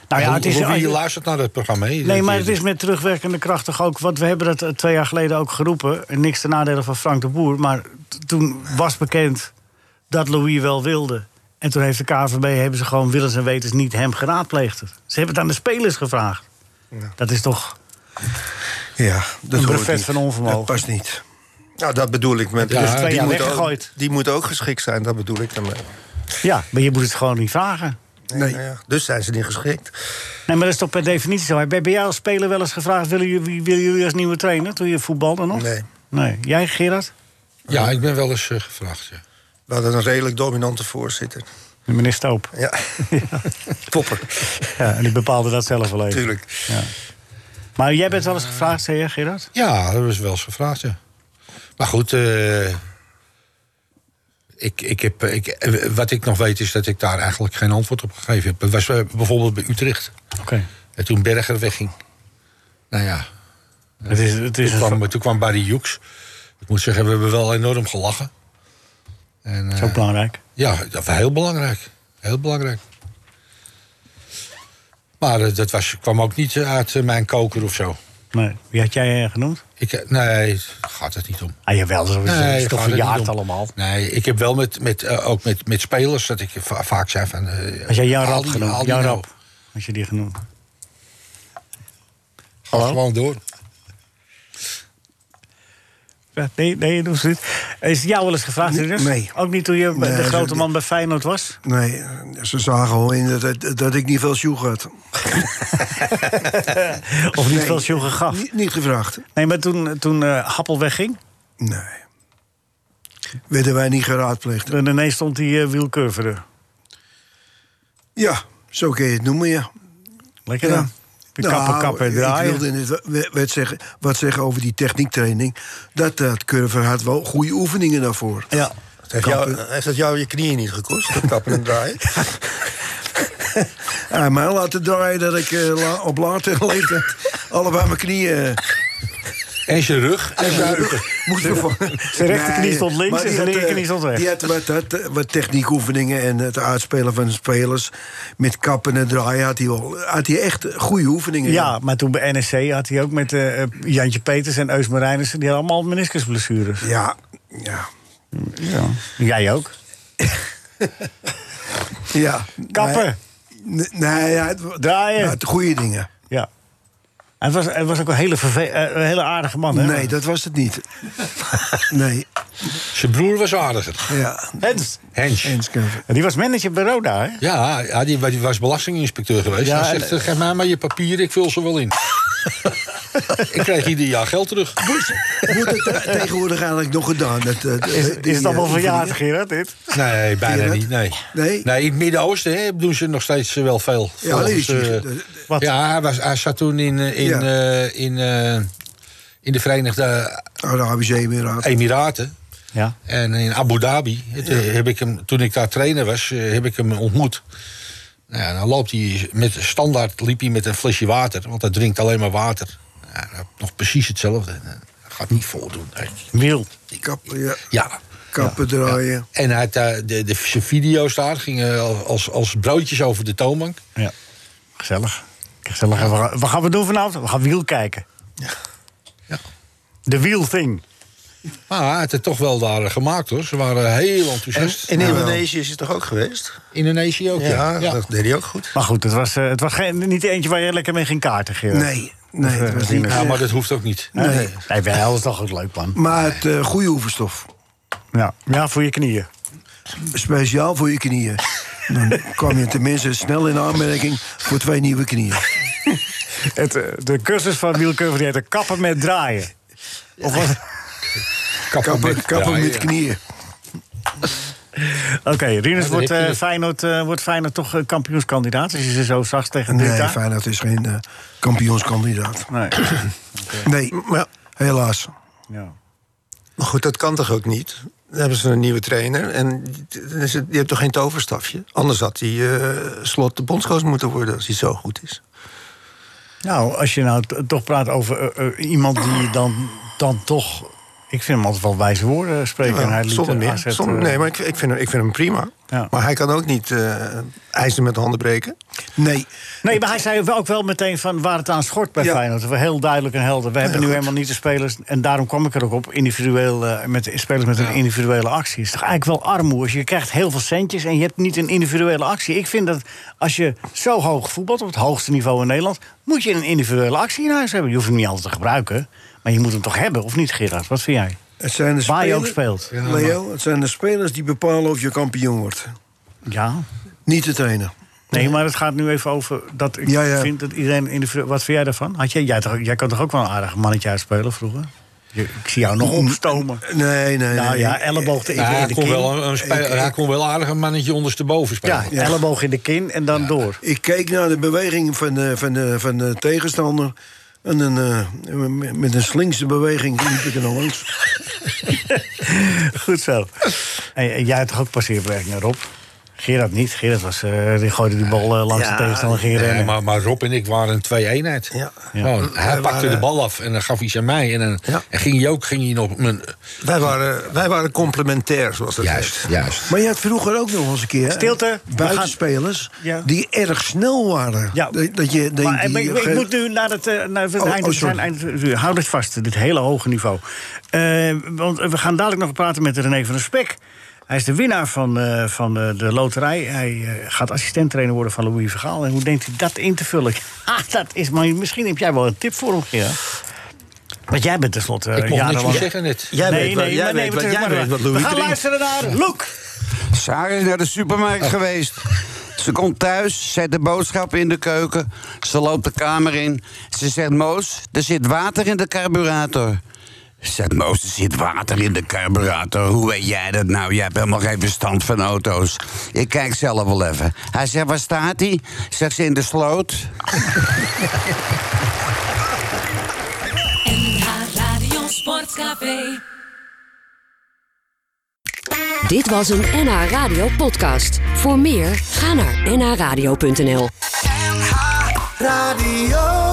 Speaker 4: Nou ja,
Speaker 5: Hoe-
Speaker 4: het is...
Speaker 5: hoe- Wie luistert naar dat programma? hè?
Speaker 4: Nee, maar het is met terugwerkende kracht toch ook... want we hebben dat eh, twee jaar geleden ook geroepen... en niks ten nadele van Frank de Boer... maar t- toen was bekend dat Louis wel wilde. En toen heeft de KVB hebben ze gewoon willens en wetens niet hem geraadpleegd. Ze hebben het aan de spelers gevraagd. Dat is toch...
Speaker 6: Ja, dat
Speaker 4: Een
Speaker 6: hoort
Speaker 4: brevet
Speaker 6: niet.
Speaker 4: van onvermogen.
Speaker 6: Dat past niet.
Speaker 7: Nou, dat bedoel ik met.
Speaker 4: is twee
Speaker 7: die,
Speaker 4: jaar
Speaker 7: moet ook,
Speaker 4: weggegooid.
Speaker 7: die moet ook geschikt zijn, dat bedoel ik daarmee.
Speaker 4: Ja, maar je moet het gewoon niet vragen.
Speaker 6: Nee.
Speaker 7: Nou ja, dus zijn ze niet geschikt.
Speaker 4: Nee, maar dat is toch per definitie zo. Bij, bij jou als speler wel eens gevraagd... willen jullie, willen jullie als nieuwe trainer toen je voetbalde nog?
Speaker 7: Nee.
Speaker 4: Nee. Jij, Gerard?
Speaker 5: Ja, ik ben wel eens eh, gevraagd. Ja.
Speaker 7: We hadden een redelijk dominante voorzitter.
Speaker 4: Meneer Stoop.
Speaker 7: Ja. Popper,
Speaker 4: Ja, en die bepaalde dat zelf alleen.
Speaker 7: natuurlijk.
Speaker 4: Maar jij bent wel eens gevraagd, zei je, Gerard?
Speaker 5: Ja, dat is wel eens gevraagd, ja. Maar goed, eh, ik, ik heb, ik, eh, wat ik nog weet is dat ik daar eigenlijk geen antwoord op gegeven heb. Het was eh, bijvoorbeeld bij Utrecht,
Speaker 4: Oké.
Speaker 5: en toen Berger wegging. Nou ja,
Speaker 4: Het is, het is
Speaker 5: toen
Speaker 4: een
Speaker 5: kwam, toen kwam Barry Joeks. Ik moet zeggen, we hebben wel enorm gelachen. En,
Speaker 4: is
Speaker 5: eh,
Speaker 4: ook belangrijk.
Speaker 5: ja, dat was heel belangrijk. Heel belangrijk. Maar eh, dat was, kwam ook niet eh, uit eh, mijn koker of zo.
Speaker 4: Nee. Wie had jij eh, genoemd?
Speaker 5: Ik, eh, nee, gaat het niet om.
Speaker 4: Ah, jawel, dat is, dat is
Speaker 5: Nee,
Speaker 4: toch
Speaker 5: gaat het niet
Speaker 4: verjaard
Speaker 5: om.
Speaker 4: allemaal.
Speaker 5: Nee, ik heb wel met, met, eh, ook met, met spelers dat ik va- vaak zei van... eh,
Speaker 4: Had jij Jan
Speaker 5: haal
Speaker 4: Rap
Speaker 5: die-
Speaker 4: genoemd?
Speaker 5: haal die
Speaker 4: Jan
Speaker 5: nou.
Speaker 4: Rap, had je die genoemd.
Speaker 5: Ga gewoon door.
Speaker 4: Ja, nee, nee, je doet het niet. Is jou wel eens gevraagd,
Speaker 6: Nee,
Speaker 4: Rinus?
Speaker 6: nee.
Speaker 4: Ook niet toen je
Speaker 6: Nee,
Speaker 4: de
Speaker 6: dat
Speaker 4: grote
Speaker 6: is-
Speaker 4: man bij Feyenoord was?
Speaker 6: Nee, ze zagen al in dat, dat ik niet veel sjoeg had.
Speaker 4: Of niet
Speaker 6: Nee.
Speaker 4: veel Sjoegen gaf?
Speaker 6: Niet, niet gevraagd.
Speaker 4: Nee, maar toen, toen eh, Happel wegging,
Speaker 6: Nee. Werden wij niet geraadpleegd.
Speaker 4: toen ineens stond die eh, Wiel Curveren.
Speaker 6: Ja, zo kun je het noemen, ja.
Speaker 4: Lekker
Speaker 6: Ja.
Speaker 4: dan. De
Speaker 6: Nou,
Speaker 4: kappen, kappen, en
Speaker 6: ik
Speaker 4: draaien.
Speaker 6: wilde in het we- wet zeggen, wat zeggen over die techniektraining. Dat, dat Curver had wel goede oefeningen daarvoor.
Speaker 4: Ja.
Speaker 7: Heeft, jou, heeft dat jou je knieën niet gekost? Dat kappen en draaien?
Speaker 6: Hij mij laten draaien dat ik eh, la- op later leeftijd allebei mijn knieën
Speaker 5: En zijn rug. En zijn rug.
Speaker 6: moest vervangen.
Speaker 4: Zijn rechterknie
Speaker 6: Nee,
Speaker 4: stond links
Speaker 6: maar
Speaker 4: en
Speaker 6: die
Speaker 4: zijn
Speaker 6: had, eh,
Speaker 4: linkerknie stond rechts.
Speaker 6: Die had wat, had, eh, wat techniekoefeningen en het uitspelen van de spelers. Met kappen en draaien had hij, wel, had hij echt goede oefeningen.
Speaker 4: Ja, maar toen bij NSC had hij ook met eh, Jantje Peters en Eus Marijnissen... die hadden allemaal meniscusblessures.
Speaker 6: Ja, ja.
Speaker 4: Ja. Jij ook?
Speaker 6: ja.
Speaker 4: Kappen,
Speaker 6: Nee, nee, ja, het,
Speaker 4: draaien.
Speaker 6: het- goede dingen.
Speaker 4: Ja. Hij was, hij was ook een hele, verve- eh, een hele aardige man, hè?
Speaker 6: Nee, dat was het niet. Nee,
Speaker 5: Zijn broer was aardiger.
Speaker 6: ja.
Speaker 4: Hens.
Speaker 5: Hens.
Speaker 6: Eens Curver.
Speaker 4: Die was manager bij Roda, hè?
Speaker 5: Ja, ja die, wa- die was belastinginspecteur geweest.
Speaker 4: Ja,
Speaker 5: Hij
Speaker 4: en-
Speaker 5: zegt, eh, geef mij maar je papieren, ik vul ze wel in. ik krijg ieder jaar geld terug.
Speaker 6: Wordt het eh, tegenwoordig eigenlijk nog gedaan? Dat, eh,
Speaker 4: Is,
Speaker 6: die,
Speaker 4: is het allemaal
Speaker 6: eh,
Speaker 4: verjaardag, Gerard, dit?
Speaker 5: Nee, bijna
Speaker 6: dat?
Speaker 5: niet, nee.
Speaker 6: Nee?
Speaker 5: in het Midden-Oosten hè, doen ze nog steeds eh, wel veel.
Speaker 6: Ja,
Speaker 5: Volgens,
Speaker 6: liedjes.
Speaker 5: eh,
Speaker 6: Dat-
Speaker 4: Wat?
Speaker 5: Ja, hij, was, hij zat toen in, eh, in,
Speaker 6: Ja.
Speaker 5: eh, in, eh, in de Verenigde
Speaker 6: Arabische Emiraten.
Speaker 5: Emiraten.
Speaker 4: Ja.
Speaker 5: En in Abu Dhabi, het, eh, heb ik hem, toen ik daar trainer was, eh, heb ik hem ontmoet. Nou ja, dan loopt hij met standaard liep hij met een flesje water, want hij drinkt alleen maar water. Ja, dat- nog precies hetzelfde. Eh, Gaat niet voordoen. Nee.
Speaker 4: Wiel.
Speaker 6: Kappen, ja.
Speaker 5: Ja.
Speaker 6: Kappen draaien.
Speaker 5: En hij had, eh, de, de, zijn video's daar gingen als, als broodjes over de toonbank.
Speaker 4: Ja. Gezellig. Gezellig. En wat gaan- Wat gaan we doen vanavond? We gaan wiel kijken.
Speaker 5: Ja.
Speaker 4: De wielthing.
Speaker 5: Maar hij had het toch wel daar eh, gemaakt hoor. Ze waren heel
Speaker 7: En
Speaker 5: enthousiast.
Speaker 7: in Indonesië is het toch ook geweest?
Speaker 5: Indonesië ook, ja. Ja.
Speaker 7: dat deed hij ook goed.
Speaker 4: Maar goed, het was, eh, het was geen, niet eentje waar je lekker mee ging kaarten, Gerard.
Speaker 6: Nee, nee, dat was niet.
Speaker 5: Ja, maar dat hoeft ook niet.
Speaker 4: Nee. Nee, wel, dat is toch ook leuk, man.
Speaker 6: Maar het eh, goede oefenstof.
Speaker 4: Ja, ja voor je knieën.
Speaker 6: Speciaal voor je knieën. Dan kwam je tenminste snel in aanmerking voor twee nieuwe knieën.
Speaker 4: Het, eh, de cursus van Wiel Curver die heette kappen met draaien. Of was...
Speaker 6: Kappen, kappen met knieën.
Speaker 4: Oké, Rinus wordt,
Speaker 5: Ja, daar heb je
Speaker 4: eh,
Speaker 5: het.
Speaker 4: Feyenoord, eh, wordt Feyenoord toch eh, kampioenskandidaat. Als je ze zo zag tegen
Speaker 6: Nee,
Speaker 4: Drita.
Speaker 6: Feyenoord is geen eh, kampioenskandidaat.
Speaker 4: Nee.
Speaker 6: Nee, helaas.
Speaker 4: Ja.
Speaker 7: Maar goed, dat kan toch ook niet? Dan hebben ze een nieuwe trainer. En dan is het- je hebt toch geen toverstafje? Anders had hij eh, slot de bondscoach moeten worden als hij zo goed is.
Speaker 4: Nou, als je nou t- toch praat over eh, eh, iemand die dan, dan toch... Ik vind hem altijd wel wijze woorden spreken. en hij liet
Speaker 7: Oh, zonder
Speaker 4: eh,
Speaker 7: meer.
Speaker 4: AZ,
Speaker 7: Zonder-
Speaker 4: eh,
Speaker 7: nee, maar ik, ik, vind hem, ik vind hem prima.
Speaker 4: Ja.
Speaker 7: Maar hij kan ook niet eh eisen met de handen breken.
Speaker 6: Nee,
Speaker 4: Nee, maar hij zei wel- ook wel meteen van waar het aan schort bij
Speaker 7: Ja.
Speaker 4: Feyenoord. Heel duidelijk en helder. We hebben nu
Speaker 7: goed.
Speaker 4: helemaal niet de spelers. En daarom kwam ik er ook op. Individueel, eh, met de spelers met een individuele actie. Het is toch eigenlijk wel armoe. Als je krijgt heel veel centjes en je hebt niet een individuele actie. Ik vind dat als je zo hoog voetbalt, op het hoogste niveau in Nederland... moet je een individuele actie in huis hebben. Je hoeft hem niet altijd te gebruiken. Maar je moet hem toch hebben, of niet Gerard? Wat vind jij?
Speaker 6: het zijn de
Speaker 4: Waar je ook
Speaker 6: spelers-
Speaker 4: speelt. Ja,
Speaker 6: Leo, het zijn de spelers die bepalen of je kampioen wordt.
Speaker 4: Ja.
Speaker 6: Niet de trainer.
Speaker 4: Nee, maar het gaat nu even over dat ik
Speaker 6: Ja, ja.
Speaker 4: vind dat iedereen individueel... Wat vind jij daarvan? Had jij, jij, toch- jij kan toch ook wel een aardig mannetje uitspelen vroeger? Je- ik zie jou nog opstomen.
Speaker 6: Nee, nee, nee.
Speaker 4: Nou ja, elleboog in,
Speaker 5: Ja,
Speaker 4: in
Speaker 5: Ah, hij,
Speaker 4: de
Speaker 5: kon
Speaker 4: kin.
Speaker 5: wel een, een spel- hij kon wel aardig een mannetje ondersteboven spelen.
Speaker 4: ja, elleboog in de kin en dan door.
Speaker 6: Ik keek naar de beweging van de, van de, van de tegenstander. En een, eh, met een slinkse beweging liep ik er naar langs.
Speaker 4: Goed zo. En, en jij had toch ook passeerbewegingen, Rob? Gerard niet. Gerard was, eh, die gooide die bal eh, langs
Speaker 7: Ja,
Speaker 4: de tegenstander en ging
Speaker 5: Nee,
Speaker 4: rennen.
Speaker 5: maar, maar Rob en ik waren een twee-eenheid.
Speaker 7: Ja.
Speaker 5: Gewoon, hij
Speaker 7: Wij
Speaker 5: pakte
Speaker 7: waren-
Speaker 5: de bal af en dan gaf hij ze aan mij. En, dan,
Speaker 7: Ja.
Speaker 5: en ging hij ook ging hij nog... Mijn,
Speaker 7: Wij waren, wij waren complementair, zoals dat
Speaker 5: juist,
Speaker 7: heet.
Speaker 5: juist.
Speaker 6: Maar je had vroeger ook nog eens een keer... hè,
Speaker 4: Stilte.
Speaker 6: Buitenspelers
Speaker 4: Ja.
Speaker 6: die erg snel waren.
Speaker 4: Ja.
Speaker 6: Dat, dat je, dat
Speaker 4: Maar,
Speaker 6: die-
Speaker 4: eh, maar ik, ik
Speaker 6: ge-
Speaker 4: moet nu naar het, eh, naar het
Speaker 6: Oh,
Speaker 4: eind.
Speaker 6: oh,
Speaker 4: we zijn
Speaker 6: sorry.
Speaker 4: eind- we- Houd het vast, dit hele hoge niveau. Eh, want we gaan dadelijk nog praten met René van der Spek. Hij is de winnaar van, eh, van eh, de loterij. Hij eh, gaat assistent-trainer worden van Louis Vergaal. En hoe denkt hij dat in te vullen? Ah, dat is, maar misschien heb jij wel een tip voor hem, Gerard. Want jij bent tenslotte eh,
Speaker 5: Ik mocht niks
Speaker 4: jarenlang-
Speaker 5: meer zeggen net.
Speaker 7: Jij
Speaker 4: nee,
Speaker 7: weet,
Speaker 4: nee,
Speaker 7: wat- jij
Speaker 4: maar nee,
Speaker 7: weet,
Speaker 4: maar
Speaker 7: wat-
Speaker 4: terug
Speaker 7: jij
Speaker 4: maar-
Speaker 7: weet wat
Speaker 4: We
Speaker 7: Louis
Speaker 4: gaan
Speaker 7: drinkt.
Speaker 4: luisteren naar Loek.
Speaker 10: Sarah is naar de supermarkt geweest. Ze komt thuis, zet de boodschappen in de keuken. Ze loopt de kamer in. Ze zegt, Moos, er zit water in de carburator. Zegt Moos, er zit water in de carburator. Hoe weet jij dat nou? Jij hebt helemaal geen verstand van auto's. Ik kijk zelf wel even. Hij zegt, waar staat hij? Zegt ze, in de sloot.
Speaker 1: NH Radio Sportcafé.
Speaker 11: Dit was een NH Radio podcast. Voor meer, ga naar nhradio.nl.
Speaker 2: Radio.